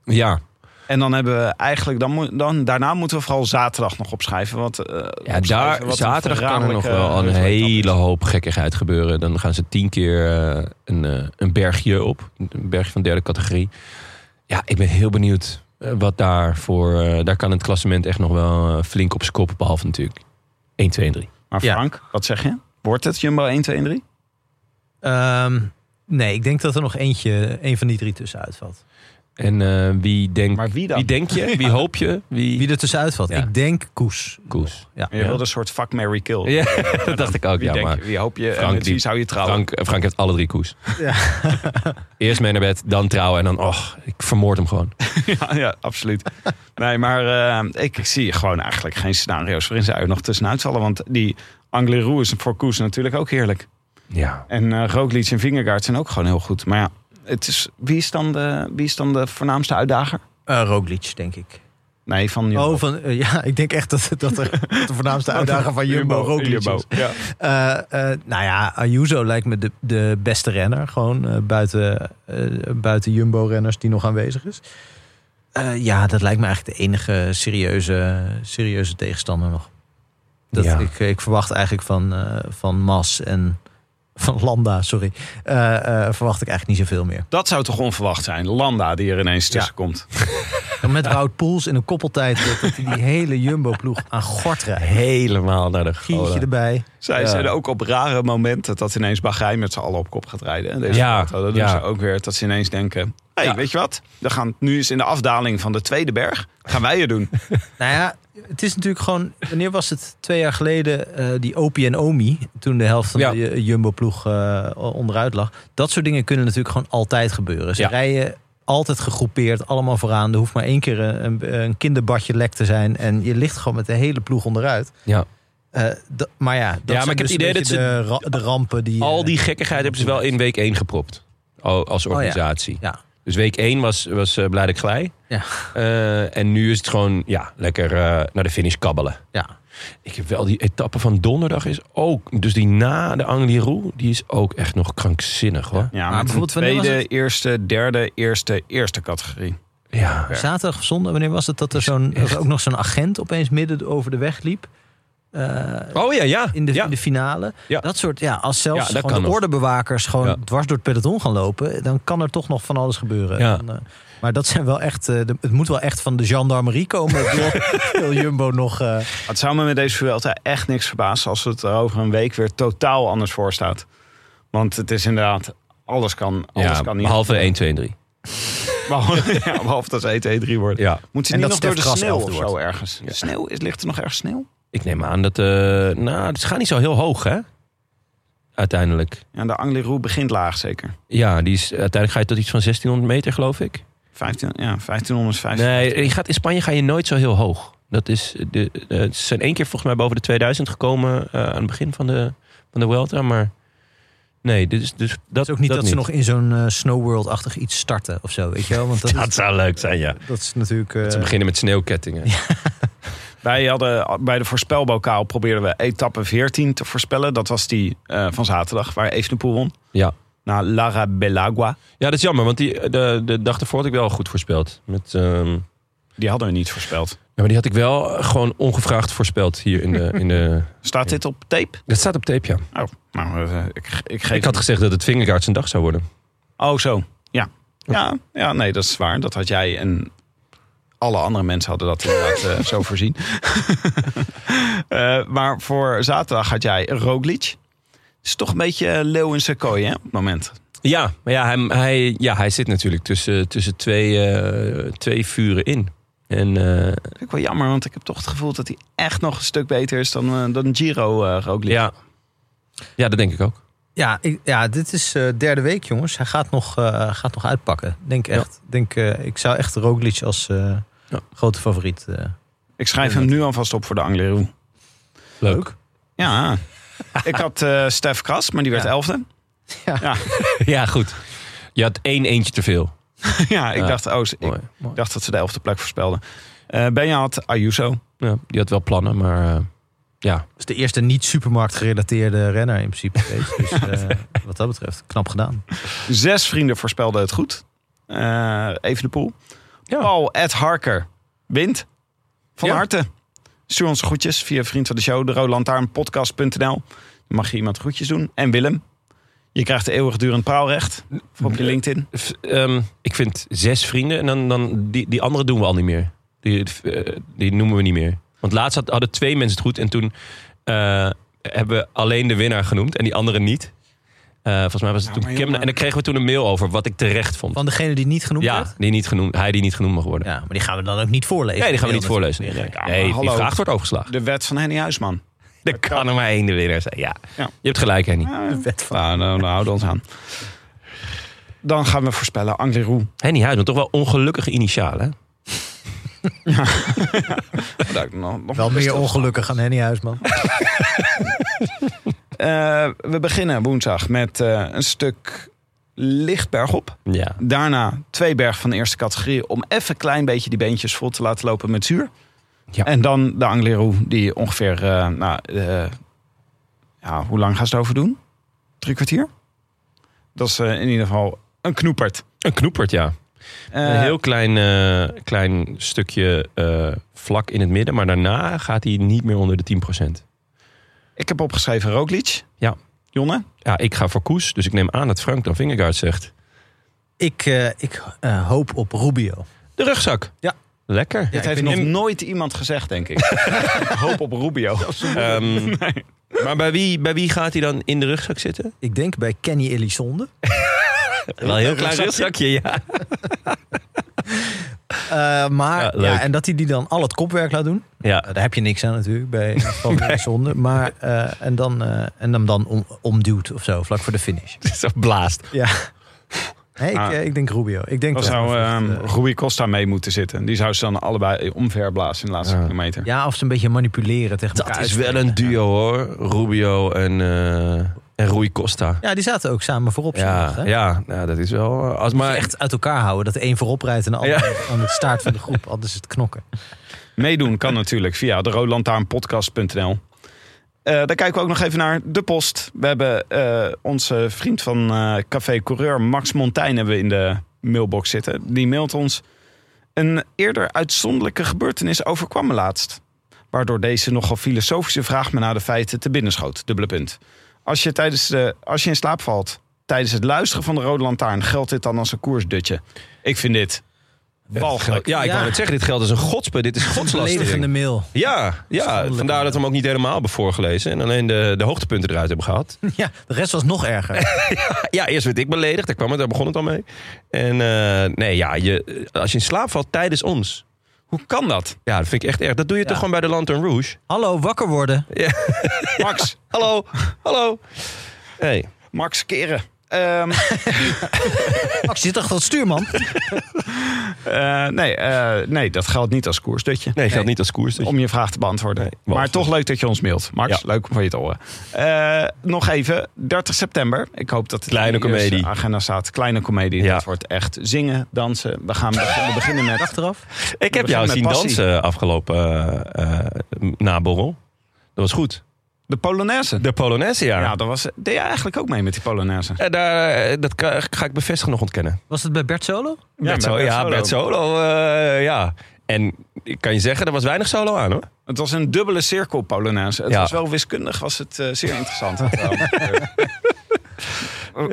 C: Ja,
A: En dan hebben we eigenlijk, dan, moet- dan, daarna moeten we vooral zaterdag nog opschrijven. Wat, eh,
C: Ja,
A: opschrijven
C: daar,
A: wat een
C: zaterdag kan er nog wel een
A: verraderlijke
C: hele
A: heuveletappe
C: hoop gekkigheid gebeuren. Dan gaan ze tien keer eh, een, eh, een bergje op. Een bergje van derde categorie. Ja, ik ben heel benieuwd eh, wat daar voor... eh, daar kan het klassement echt nog wel eh, flink op zijn kop. Behalve natuurlijk 1, 2 en 3.
A: is. Maar
B: Ja.
A: Frank, wat zeg je? Wordt het Jumbo 1, 2 en 3?
B: Ehm, nee, ik denk dat er nog eentje, een van die drie tussenuit valt.
C: En eh, wie, denkt
A: Maar wie dan?
C: wie denk je? Wie hoop je? Wie...
B: Wie er tussenuit valt?
C: Ja.
B: Ik denk Koes.
C: Koes.
B: Ja.
A: Je wilde een soort fuck, Mary kill.
C: Ja, dat dacht ik ook.
A: Wie,
C: Ja,
A: denk
C: maar
A: je, wie hoop je, en
C: Frank,
A: met wie
C: die-
A: zou je trouwen?
C: Frank, eh, Frank heeft alle drie koes.
B: Ja.
C: Eerst mee naar bed, dan trouwen en dan... Och, ik vermoord hem gewoon.
A: Ja, ja, absoluut. Nee, maar eh, ik zie gewoon eigenlijk geen scenario's waarin ze uit nog tussenuit vallen. Want die Angliru is voor Koes natuurlijk ook heerlijk.
C: Ja.
A: En eh Roglic en Vingegaard zijn ook gewoon heel goed. Maar ja, het is, wie, is dan de, wie is dan de voornaamste uitdager?
B: Eh Roglic, denk ik.
A: Nee, van Jumbo.
B: Oh, van, eh, ja, ik denk echt dat, dat, er, dat de voornaamste uitdaging van Jumbo Roglic
A: Nou, Jumbo,
B: is.
A: Ja.
B: Eh, eh, nou ja, Ayuso lijkt me de, de beste renner. Gewoon eh, buiten, eh, buiten Jumbo-renners die nog aanwezig is. Eh, ja, dat lijkt me eigenlijk de enige serieuze, serieuze tegenstander nog. Dat
C: Ja.
B: ik, ik verwacht eigenlijk van, eh, van Mas en van Landa, sorry. eh, eh, verwacht ik eigenlijk niet zoveel meer.
A: Dat zou toch onverwacht zijn? Landa die er ineens tussenkomt.
B: Met Wout Poels in een koppeltijd dat dat hij die hele Jumbo-ploeg aan gort rijdt.
C: Helemaal naar de
B: Gietje
C: gola.
B: erbij.
A: Zij
C: Ja.
A: zijn ook op rare momenten dat ineens Bahrein met z'n allen op kop gaat rijden. En Deze
C: Ja,
A: auto, Dat doen
C: ja.
A: ze ook weer. Dat ze ineens denken, hey,
C: Ja.
A: weet je wat? We gaan nu eens in de afdaling van de tweede berg. Gaan wij het doen.
B: Nou ja, het is natuurlijk gewoon. Wanneer was het twee jaar geleden? eh, die Opie en Omi. Toen de helft van
C: Ja.
B: de Ju- Jumbo-ploeg eh, onderuit lag. Dat soort dingen kunnen natuurlijk gewoon altijd gebeuren. Ze
C: Ja.
B: rijden altijd gegroepeerd, allemaal vooraan. Er hoeft maar één keer een, een, een kinderbadje lek te zijn. En je ligt gewoon met de hele ploeg onderuit.
C: Ja.
B: Eh, dat- maar ja, dat
C: maar
B: zijn
C: ik heb het
B: dus
C: idee
B: een
C: dat
B: beetje de, ra- de rampen die.
C: Al
B: eh,
C: die gekkigheid hebben ze wel in week 1 gepropt. Al- Als organisatie.
B: Oh ja. Ja.
C: Dus week 1 was, was eh Blijde Glij.
B: Ja.
C: Eh, en nu is het gewoon ja, lekker eh, naar de finish kabbelen.
B: ja.
C: Ik heb wel die etappe van donderdag is ook... Dus die na de Angliru, die is ook echt nog krankzinnig hoor. Ja,
A: Ja,
B: Maar
A: maar
B: bijvoorbeeld, wanneer was
A: tweede,
B: het?
A: eerste, derde, eerste, eerste categorie.
C: ja.
B: Zaterdag of zondag, wanneer was het dat er, zo'n, dat er
C: echt-
B: ook nog zo'n agent opeens midden over de weg liep? eh,
C: Oh ja, ja.
B: in, de,
C: ja.
B: in de finale.
C: Ja.
B: Dat soort, ja, als zelfs
C: Ja, dat
B: gewoon
C: kan
B: de
C: nog.
B: ordebewakers gewoon
C: Ja.
B: dwars door het peloton gaan lopen, dan kan er toch nog van alles gebeuren.
C: Ja.
B: Dan, eh, maar dat zijn wel echt, eh, de- het moet wel echt van de gendarmerie komen. wil, wil Jumbo nog. eh,
A: Het zou me met deze Vuelta echt niks verbazen als het er over een week weer totaal anders voor staat. Want het is inderdaad, alles kan, alles
C: ja,
A: kan niet.
C: behalve 1, 2 en 3.
A: Behalve, ja, behalve dat ze E 1-2-3 wordt.
C: Ja.
A: Moet ze
B: En
A: niet nog
B: dat
A: door de
B: Stef Kras
A: sneeuw
B: elfde
A: of
B: wordt.
A: zo ergens? Sneeuw, is, ligt er nog erg sneeuw?
C: Ik neem aan dat... eh nou, het gaat niet zo heel hoog, hè? Uiteindelijk.
A: Ja, de Angliru begint laag zeker.
C: Ja, die is, uiteindelijk ga je tot iets van 1600 meter, geloof ik.
A: 15, ja, 1550.
C: Nee, je gaat, in Spanje ga je nooit zo heel hoog. Dat is de, eh, ze zijn één keer volgens mij boven de 2000 gekomen eh, aan het begin van de, van de Welta. Maar nee, dus, dus dat
B: het is ook niet dat, ze
C: niet.
B: nog in zo'n eh, Snowworld-achtig iets starten of zo. Weet je wel? Want dat,
C: Dat
B: is,
C: zou leuk zijn, ja.
B: dat is natuurlijk. eh,
C: Ze beginnen met sneeuwkettingen.
A: Wij hadden bij de voorspelbokaal probeerden we etappe 14 te voorspellen. Dat was die eh, van zaterdag, waar Evenepoel won.
C: Ja.
A: Naar Lara Belagua.
C: ja, dat is jammer, want die, de, de dag ervoor had ik wel goed voorspeld. Met, ehm,
A: Die hadden we niet voorspeld.
C: ja, maar die had ik wel eh, gewoon ongevraagd voorspeld hier in de... In de
A: Staat dit op tape?
C: dat staat op tape, ja.
A: Oh, nou, eh, ik, ik geef
C: Ik had gezegd dat het vingerkaart zijn dag zou worden.
A: Oh, zo. Ja. Ja, ja, nee, dat is waar. Dat had jij en alle andere mensen hadden dat inderdaad eh, zo voorzien. Eh, maar voor zaterdag had jij Roglic. Is toch een beetje eh, leeuw in zijn kooi, hè, op het moment.
C: Ja, maar ja, hij, hij, ja, hij zit natuurlijk tussen, tussen twee, eh, twee vuren in. En eh,
A: Vind ik wel jammer, want ik heb toch het gevoel dat hij echt nog een stuk beter is dan, eh, dan Giro eh Roglic.
C: ja. ja, dat denk ik ook.
B: Ja, ik, ja dit is eh, derde week, jongens. Hij gaat nog, eh, gaat nog uitpakken. Denk echt. Denk, eh, ik zou echt Roglic als eh,
C: Ja.
B: grote favoriet. eh,
A: Ik schrijf hem nu alvast op voor de Angleroo.
C: Leuk.
A: Ja. ik had eh, Stef Kras, maar die werd
B: Ja.
A: elfde.
C: ja, goed. Je had één eentje te veel.
A: ja, ik
C: Ja.
A: dacht, oh, ze- ik
C: Mooi.
A: dacht dat ze de elfde plek voorspelden. Eh Benja had Ayuso.
C: Ja, die had wel plannen, maar eh, ja.
B: is de eerste niet supermarktgerelateerde renner in principe. Deze. Dus eh, wat dat betreft, knap gedaan.
A: Zes vrienden voorspelden het goed. Eh even de pool.
C: Ja.
A: Paul Ed Harker wint. Van
C: Ja.
A: harte. Stuur ons groetjes via vriend van de show, de Dan mag je iemand groetjes doen. En Willem. Je krijgt de eeuwigdurend praalrecht voor op je LinkedIn.
C: F- ehm, ik vind zes vrienden en dan, dan die, die andere doen we al niet meer. Die, eh, die noemen we niet meer. Want laatst had- hadden twee mensen het goed en toen eh, hebben we alleen de winnaar genoemd en die andere niet. Eh, volgens mij was het
A: Ja,
C: toen
A: maar
C: Kemna.
A: jongen.
C: En daar kregen we toen een mail over wat ik terecht vond.
B: Van degene die niet genoemd
C: ja,
B: werd.
C: die niet genoemd, hij die niet genoemd mag worden.
B: Ja, maar die gaan we dan ook niet voorlezen.
C: Nee, die gaan we niet
B: Heel natuurlijk.
C: voorlezen. Nee, nee.
A: Ja, maar
C: Nee, die
A: hallo.
C: vraag wordt overgeslagen.
A: De wet van Henny Huisman.
C: Er kan er maar één de winnaar zijn. Ja.
A: Ja.
C: Je hebt gelijk, Henny.
A: De wet van... Nou, nou, nou, houden we ons aan. Dan gaan we voorspellen. Angleroo.
C: Henny Huidman, toch wel ongelukkige initialen. hè?
A: nou,
B: Wel meer ongelukkig aan Henny Huisman.
A: Eh, we beginnen woensdag met eh, een stuk licht bergop.
C: Ja.
A: Daarna twee berg van de eerste categorie om even een klein beetje die beentjes vol te laten lopen met zuur.
C: Ja.
A: En dan de Angleroo die ongeveer, eh, nou, eh, ja, hoe lang gaan ze het over doen? Drie kwartier? Dat is eh, in ieder geval een knoepert.
C: Een knoepert, ja.
A: Eh,
C: Een heel klein, eh, klein stukje eh, vlak in het midden. Maar daarna gaat hij niet meer onder de 10%.
A: Ik heb opgeschreven Roglic.
C: Ja.
A: Jonne?
C: Ja, ik ga voor Koes. Dus ik neem aan dat Frank dan Vingegaard zegt...
B: Ik, eh, ik eh, hoop op Rubio.
C: De rugzak.
B: Ja.
C: Lekker.
B: Ja,
A: Dit
B: ik
A: heeft
B: vind
A: nog
C: hem-
A: nooit iemand gezegd, denk ik. Hoop op Rubio.
C: Ehm, Maar bij wie, bij wie gaat hij dan in de rugzak zitten?
B: Ik denk bij Kenny Elizonde.
C: Wel een heel klein rugzakje, ja.
B: Eh, maar,
C: Ja,
B: ja,
C: leuk.
B: en dat hij die dan al het kopwerk laat doen.
C: Ja,
B: Nou, daar heb je niks aan natuurlijk bij van zonde. Maar eh, en dan, eh, en hem dan om, omduwt of zo, vlak voor de finish.
C: zo blaast.
B: Ja. Nee, ik,
A: Ah.
B: eh, ik denk Rubio. Ik denk
A: Dan
B: dat-
A: zou ehm
B: dat, eh,
A: Rui Costa mee moeten zitten. Die zou ze dan allebei omver blazen in de laatste
C: Ja.
A: kilometer.
B: ja, of ze een beetje manipuleren tegen
C: Dat
B: elkaar
C: is wel
B: uitspelen.
C: een duo, hoor. Rubio en, eh en Rui Costa.
B: Ja, die zaten ook samen voorop. zondag,
C: Ja,
B: hè?
C: ja, ja, dat is wel... eh, Als maar,
B: Echt uit elkaar houden. Dat de een voorop rijdt en de ander aan het staart van de groep. Anders is het knokken.
A: Meedoen kan natuurlijk via de roodlantaarnpodcast.nl. Eh daar kijken we ook nog even naar de post. We hebben eh, onze vriend van eh, Café Coureur, Max Montijn, hebben we in de mailbox zitten. Die mailt ons. Een eerder uitzonderlijke gebeurtenis overkwam me laatst. Waardoor deze nogal filosofische vraag me naar de feiten te binnen schoot. Dubbele punt. Als je, tijdens de, als je in slaap valt tijdens het luisteren van de Rode Lantaarn, geldt dit dan als een koersdutje? Ik vind dit walgelijk.
C: Ja, ik
B: Ja.
C: wou net zeggen, dit geldt als een godspe. Dit is
B: Een beledigende
C: godslastering.
B: mail.
C: Ja, ja,
B: Schandelijk.
C: vandaar dat we hem ook niet helemaal hebben voorgelezen. En alleen de, de hoogtepunten eruit hebben gehad.
B: Ja, de rest was nog erger.
C: Ja, eerst werd ik beledigd. Daar, kwam het, daar begon het al mee. En eh, nee, ja, je, eh, als je in slaap valt tijdens ons.
A: Hoe kan dat?
C: Ja, dat vind ik echt erg. Dat doe je
B: Ja.
C: toch gewoon bij de Lantern Rouge?
B: Hallo, wakker worden.
A: Max,
C: Hallo, hallo. Hey.
A: Max keren. Ehm,
B: Max, je zit achter het stuur, man.
A: eh, nee, eh, nee, dat geldt niet als koersdutje.
C: Nee, geldt niet als koers.
A: om je vraag te beantwoorden.
C: Nee,
A: maar
C: beantwoord.
A: toch leuk dat je ons mailt. Max,
C: Ja.
A: leuk om van je te horen. Eh, nog even, 30 september. Ik hoop dat het
C: Kleine
A: in de eerste
C: komedie.
A: agenda staat. Kleine komedie.
C: Ja.
A: Dat wordt echt zingen, dansen. We gaan beginnen, we beginnen met...
B: Achteraf.
C: Ik heb
A: We
C: jou
A: gaan
C: zien
A: met passie.
C: dansen afgelopen eh, eh, na borrel. Dat was goed.
A: De Polonaise.
C: De Polonaise, ja.
A: Ja, dat was, deed je eigenlijk ook mee met die Polonaise.
C: Eh, daar, eh, dat ka- ga ik bevestigen nog ontkennen.
B: Was het bij Bert Solo?
C: Ja, Bert, Solo, ja, Bert Solo, eh, ja. En ik kan je zeggen, er was weinig solo aan hoor.
A: Het was een dubbele cirkel Polonaise. Het
C: Ja.
A: was wel wiskundig, was het eh, zeer interessant. maar eh,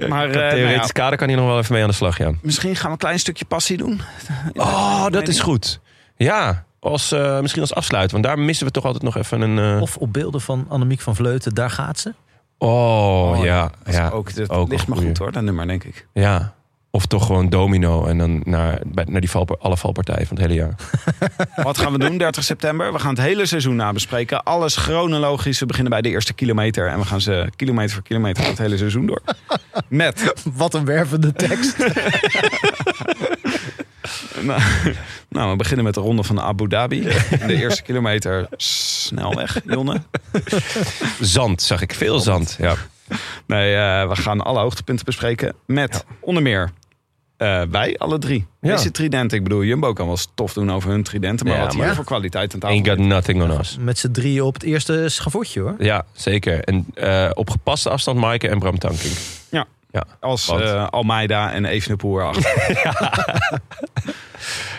A: nou
C: Theoretisch
A: ja,
C: kader kan hier nog wel even mee aan de slag, ja.
A: misschien gaan we een klein stukje passie doen.
C: Oh, dat is goed. Ja, als, eh, misschien als afsluit. Want daar missen we toch altijd nog even een... eh,
B: Of op beelden van Annemiek van Vleuten, daar gaat ze.
C: Oh,
A: Oh,
C: ja.
A: Dat
C: ja.
A: is ook, dat
C: ook
A: ligt
C: een
A: me
C: goeie.
A: goed hoor, dat nummer denk ik.
C: Ja. Of toch gewoon domino en dan naar, bij- naar die valpa- alle valpartijen van het hele jaar.
A: Wat gaan we doen 30 september? We gaan het hele seizoen nabespreken. Alles chronologisch. We beginnen bij de eerste kilometer. En we gaan ze kilometer voor kilometer het hele seizoen door. Met.
B: Wat een wervende tekst.
A: Nou, nou, we beginnen met de ronde van Abu Dhabi. En De eerste kilometer snel weg, Jonne.
C: Zand, zag ik. Veel zand. Ja.
A: Nee, eh, we gaan alle hoogtepunten bespreken. Met onder meer eh, wij, alle drie.
C: Ja.
A: Deze trident. Ik bedoel, Jumbo kan wel stof doen over hun tridenten. Maar
C: Ja,
A: wat hier
C: maar-
A: voor kwaliteit aan tafel
C: Ain't got nothing on us.
B: Met z'n drieën op het eerste schavotje, hoor.
C: Ja, zeker. En eh, op gepaste afstand Maaike en Bram Tankink.
A: Ja.
C: Ja.
A: Als
C: Want-
A: eh, Almeida en Evenepoel erachter.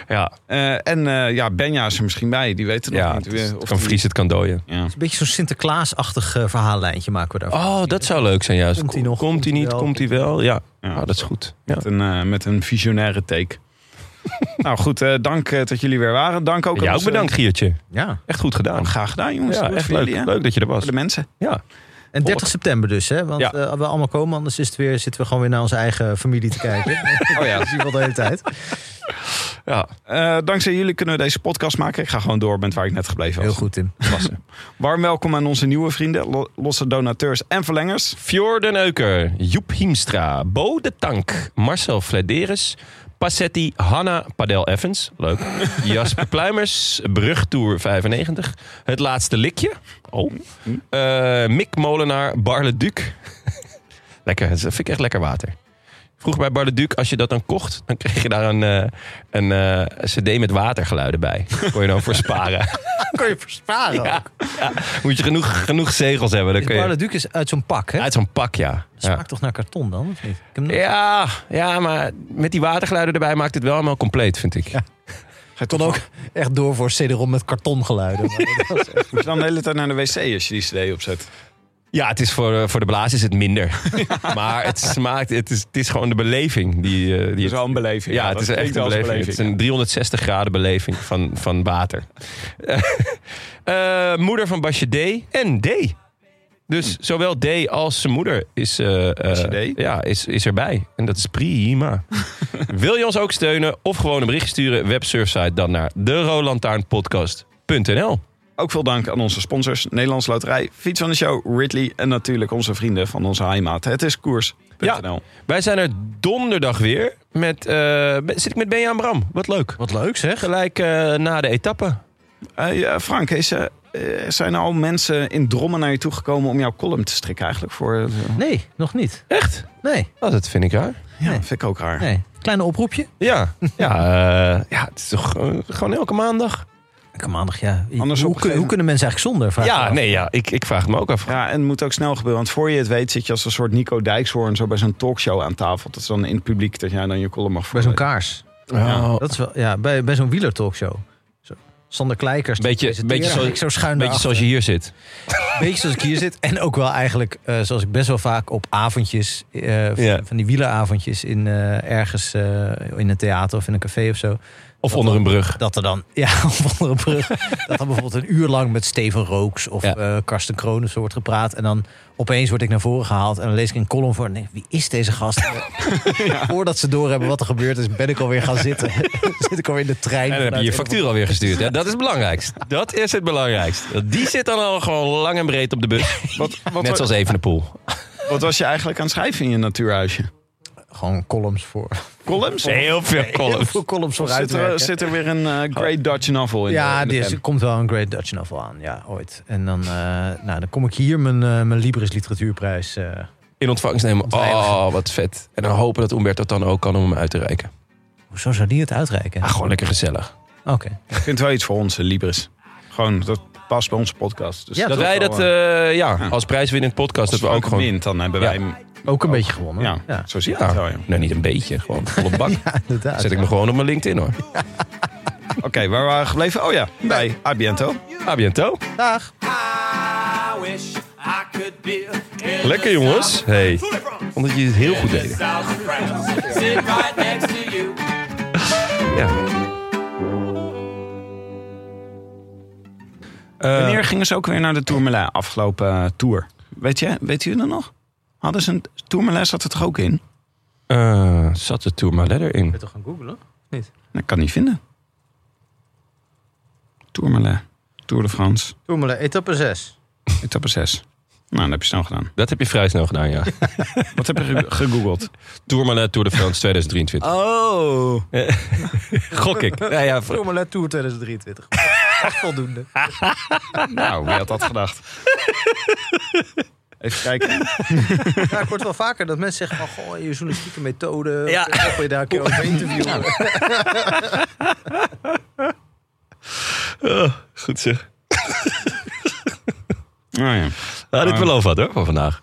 C: Ja,
A: Eh, en eh, ja, Benja is er misschien bij. Die weten nog
C: ja
A: niet.
C: het, is-
A: weer
C: het
A: of
C: kan
A: die-
C: vries, het kan dooien.
A: Ja.
B: Een beetje zo'n Sinterklaas-achtig eh, verhaallijntje maken we daarvan.
C: Oh, dat zou leuk zijn juist.
B: Komt hij nog?
C: Komt hij niet?
B: wel?
C: Komt hij wel? Ja,
A: Ja,
C: Ah, dat is goed. Ja.
A: Met, een, eh, met een visionaire take. nou goed, eh, dank eh, dat jullie weer waren. Dank ook. aan
C: Jou ook
A: onze-
C: bedankt, Giertje.
B: Ja.
C: Echt goed gedaan.
A: Graag gedaan, jongens.
C: Ja,
A: Dat was
C: echt
A: voor
C: leuk.
A: jullie, hè?
C: Leuk dat je er was.
A: Voor de mensen.
C: Ja,
B: En 30 september dus, hè? Want
C: Ja.
B: eh, we allemaal komen, anders is het weer, zitten we gewoon weer naar onze eigen familie te kijken.
A: Oh ja.
B: Dat zien we al de hele tijd.
C: ja.
A: Eh, dankzij jullie kunnen we deze podcast maken. Ik ga gewoon door met waar ik net gebleven
B: Heel
A: was.
B: goed, Tim.
A: Warm welkom aan onze nieuwe vrienden, lo- losse donateurs en verlengers.
C: Fjord den Euker, Joep Hiemstra, Bo de Tank, Marcel Flederis, Passetti, Hanna Padel Evans, leuk, Jasper Pluimers, Brugtour 95, Het Laatste Likje, oh,
B: Mm.
C: Eh, Mick Molenaar, Barle Duc. lekker, dat vind ik echt lekker water. Vroeger bij Barle Duc, als je dat dan kocht, dan kreeg je daar een, eh, een eh, cd met watergeluiden bij. Kon je dan voor sparen.
B: Kun je versparen.
C: ja, ja. Moet je genoeg, genoeg zegels hebben. Dan kun je...
B: Barla Duc is uit zo'n pak, hè?
C: Uit zo'n pak, ja.
B: Smaakt
C: Ja.
B: toch naar karton dan? Of niet? Ik heb hem nog-
C: Ja, ja, maar met die watergeluiden erbij maakt het wel allemaal compleet, vind ik.
A: Ga je
B: kon
A: toch-
B: ook echt door voor CD-ROM met kartongeluiden. Maar dat was echt-
A: Moet je dan de hele tijd naar de wc als je die cd opzet?
C: Ja, het is voor, eh, voor de blaas is het minder. maar het smaakt, het is, het is gewoon de beleving. Die, eh, die
A: Dat is wel een beleving.
C: ja, het
A: dat
C: is echt
A: klinkt
C: een
A: als
C: beleving. Het is een 360 graden beleving van, van water. Eh, moeder van Basje D. En D. Dus zowel D als zijn moeder is, eh, eh,
A: Basje D?
C: ja, is, is erbij. En dat is prima. Wil je ons ook steunen of gewoon een bericht sturen? Websurfsite dan naar de
A: Ook veel dank aan onze sponsors, Nederlands Loterij, Fiets van de Show, Ridley en natuurlijk onze vrienden van onze heimaat. Het is koers.nl.
C: Wij zijn er donderdag weer. Met, eh, zit ik met Benja en Bram. Wat leuk.
B: Wat leuk, zeg.
C: Gelijk eh, na de etappe.
A: Eh, ja, Frank, is, eh, eh, zijn er al mensen in Drommen naar je toegekomen om jouw column te strikken eigenlijk? Voor, eh,
B: Nee, nog niet.
C: Echt?
B: Nee,
C: Oh, dat vind ik raar.
A: ja,
B: Nee.
A: vind ik ook raar.
B: nee. Kleine oproepje.
C: Ja, ja, eh, ja het is toch eh, gewoon elke maandag?
B: Elke maandag, ja.
A: Anders
B: hoe,
A: op een gegeven-
B: hoe kunnen mensen eigenlijk zonder? Vraag ik
C: Ja,
B: me af.
C: nee, ja, ik, ik vraag het me ook af.
A: Ja, en het moet ook snel gebeuren. Want voor je het weet zit je als een soort Nico Dijkshoorn zo bij zo'n talkshow aan tafel. Dat is dan in het publiek dat jij dan je column mag
B: Bij zo'n
A: voorlezen.
B: kaars.
C: Oh,
B: Dat is wel, ja, bij, bij zo'n wielertalkshow. Zo. Sander Kleikers. te
C: Beetje-
B: presenteren.
C: beetje zoals-
B: Ik zo schuin
C: beetje zoals je hier zit.
B: beetje zoals ik hier zit. En ook wel eigenlijk, eh, zoals ik best wel vaak op avondjes, eh, van,
C: Ja.
B: van die wieleravondjes in, eh, ergens eh, in een theater of in een café of zo.
C: Of onder een brug.
B: Dat er dan, ja, of onder een brug, dat er bijvoorbeeld een uur lang met Steven Rooks of
C: Ja.
B: eh Karsten Kroon of zo wordt gepraat. En dan opeens word ik naar voren gehaald en dan lees ik een column voor. Nee, wie is deze gast? Voordat ze doorhebben wat er gebeurd is, ben ik alweer gaan zitten. Zit ik alweer in de trein.
C: En dan heb je je
B: vanuit-
C: factuur alweer gestuurd. hè? Dat is het belangrijkst. Dat is het belangrijkst. Want Die zit dan al gewoon lang en breed op de bus.
A: Wat, wat,
C: Net zoals Evenepoel.
A: wat was je eigenlijk aan het schrijven in je natuurhuisje?
B: Gewoon columns voor.
A: Columns?
C: Heel veel
B: Heel
C: columns.
B: veel columns voor
A: Zit er,
B: uitwerken.
A: zit er weer een eh, Great Dutch Novel in?
B: Ja,
A: in de
B: er
A: pen?
B: is- komt wel een Great Dutch Novel aan, ja, ooit. En dan, eh, nou, dan kom ik hier mijn, eh, mijn Libris Literatuurprijs. eh.
C: In ontvangst nemen. Oh, wat vet. En dan hopen dat Umberto het dan ook kan om hem uit te reiken.
B: Hoezo zou die het uitreiken?
C: Ah, gewoon lekker gezellig.
B: Oké.
A: Ik vind het wel iets voor onze Libris. Gewoon, dat past bij onze podcast. Dus
B: Ja,
C: Dat
B: toch
C: wij
A: wel,
C: dat
A: eh,
C: eh, ja, als prijswinnend podcast... Dat
A: als
C: we
A: Frank
C: ook gewoon...
A: wint, dan hebben wij... hem-
B: Ook een beetje gewonnen.
A: Ja,
B: Ja,
A: zo zit het wel,
C: Ja,
A: ja.
C: nou niet een beetje. Gewoon volle bak.
B: inderdaad.
C: Zet ik me gewoon op mijn LinkedIn hoor.
A: Oké, waar waren we gebleven? Oh ja, bij Abiento.
C: A biento.
B: Dag.
D: I wish I could be in
C: Lekker jongens. Hey. Omdat je het heel goed
D: the
C: deed.
D: South of France. Sit right next to you.
C: Ja. Eh,
A: Wanneer gingen ze ook weer naar de Tourmalet afgelopen eh, tour? Weet, je, weet u dat nog? Hadden ze een Tourmalet, zat er toch ook in?
C: eh, zat de Tourmalet erin?
B: toch gaan googlen?
A: Dat kan niet vinden. Tourmalet, Tour de France,
B: Toemelen, etappe 6.
A: etappe 6. Nou, dat heb je snel gedaan.
C: Dat heb je vrij snel gedaan, ja.
A: Wat heb je ge- gegoogeld?
C: Tourmalet Tour de France 2023.
A: Oh.
C: Gok ik. Nou ja, v-
B: Toemelen Tour 2023. Echt voldoende.
A: Nou, wie had dat gedacht? Even kijken. Oh
B: Ja, ik hoor het wel vaker dat mensen zeggen van... Goh, je journalistieke methode.
C: Ja.
B: Ja. je daar een keer over interviewen.
C: goed zeg.
A: Nou ja.
C: We hadden het wel over gehad hoor, voor vandaag.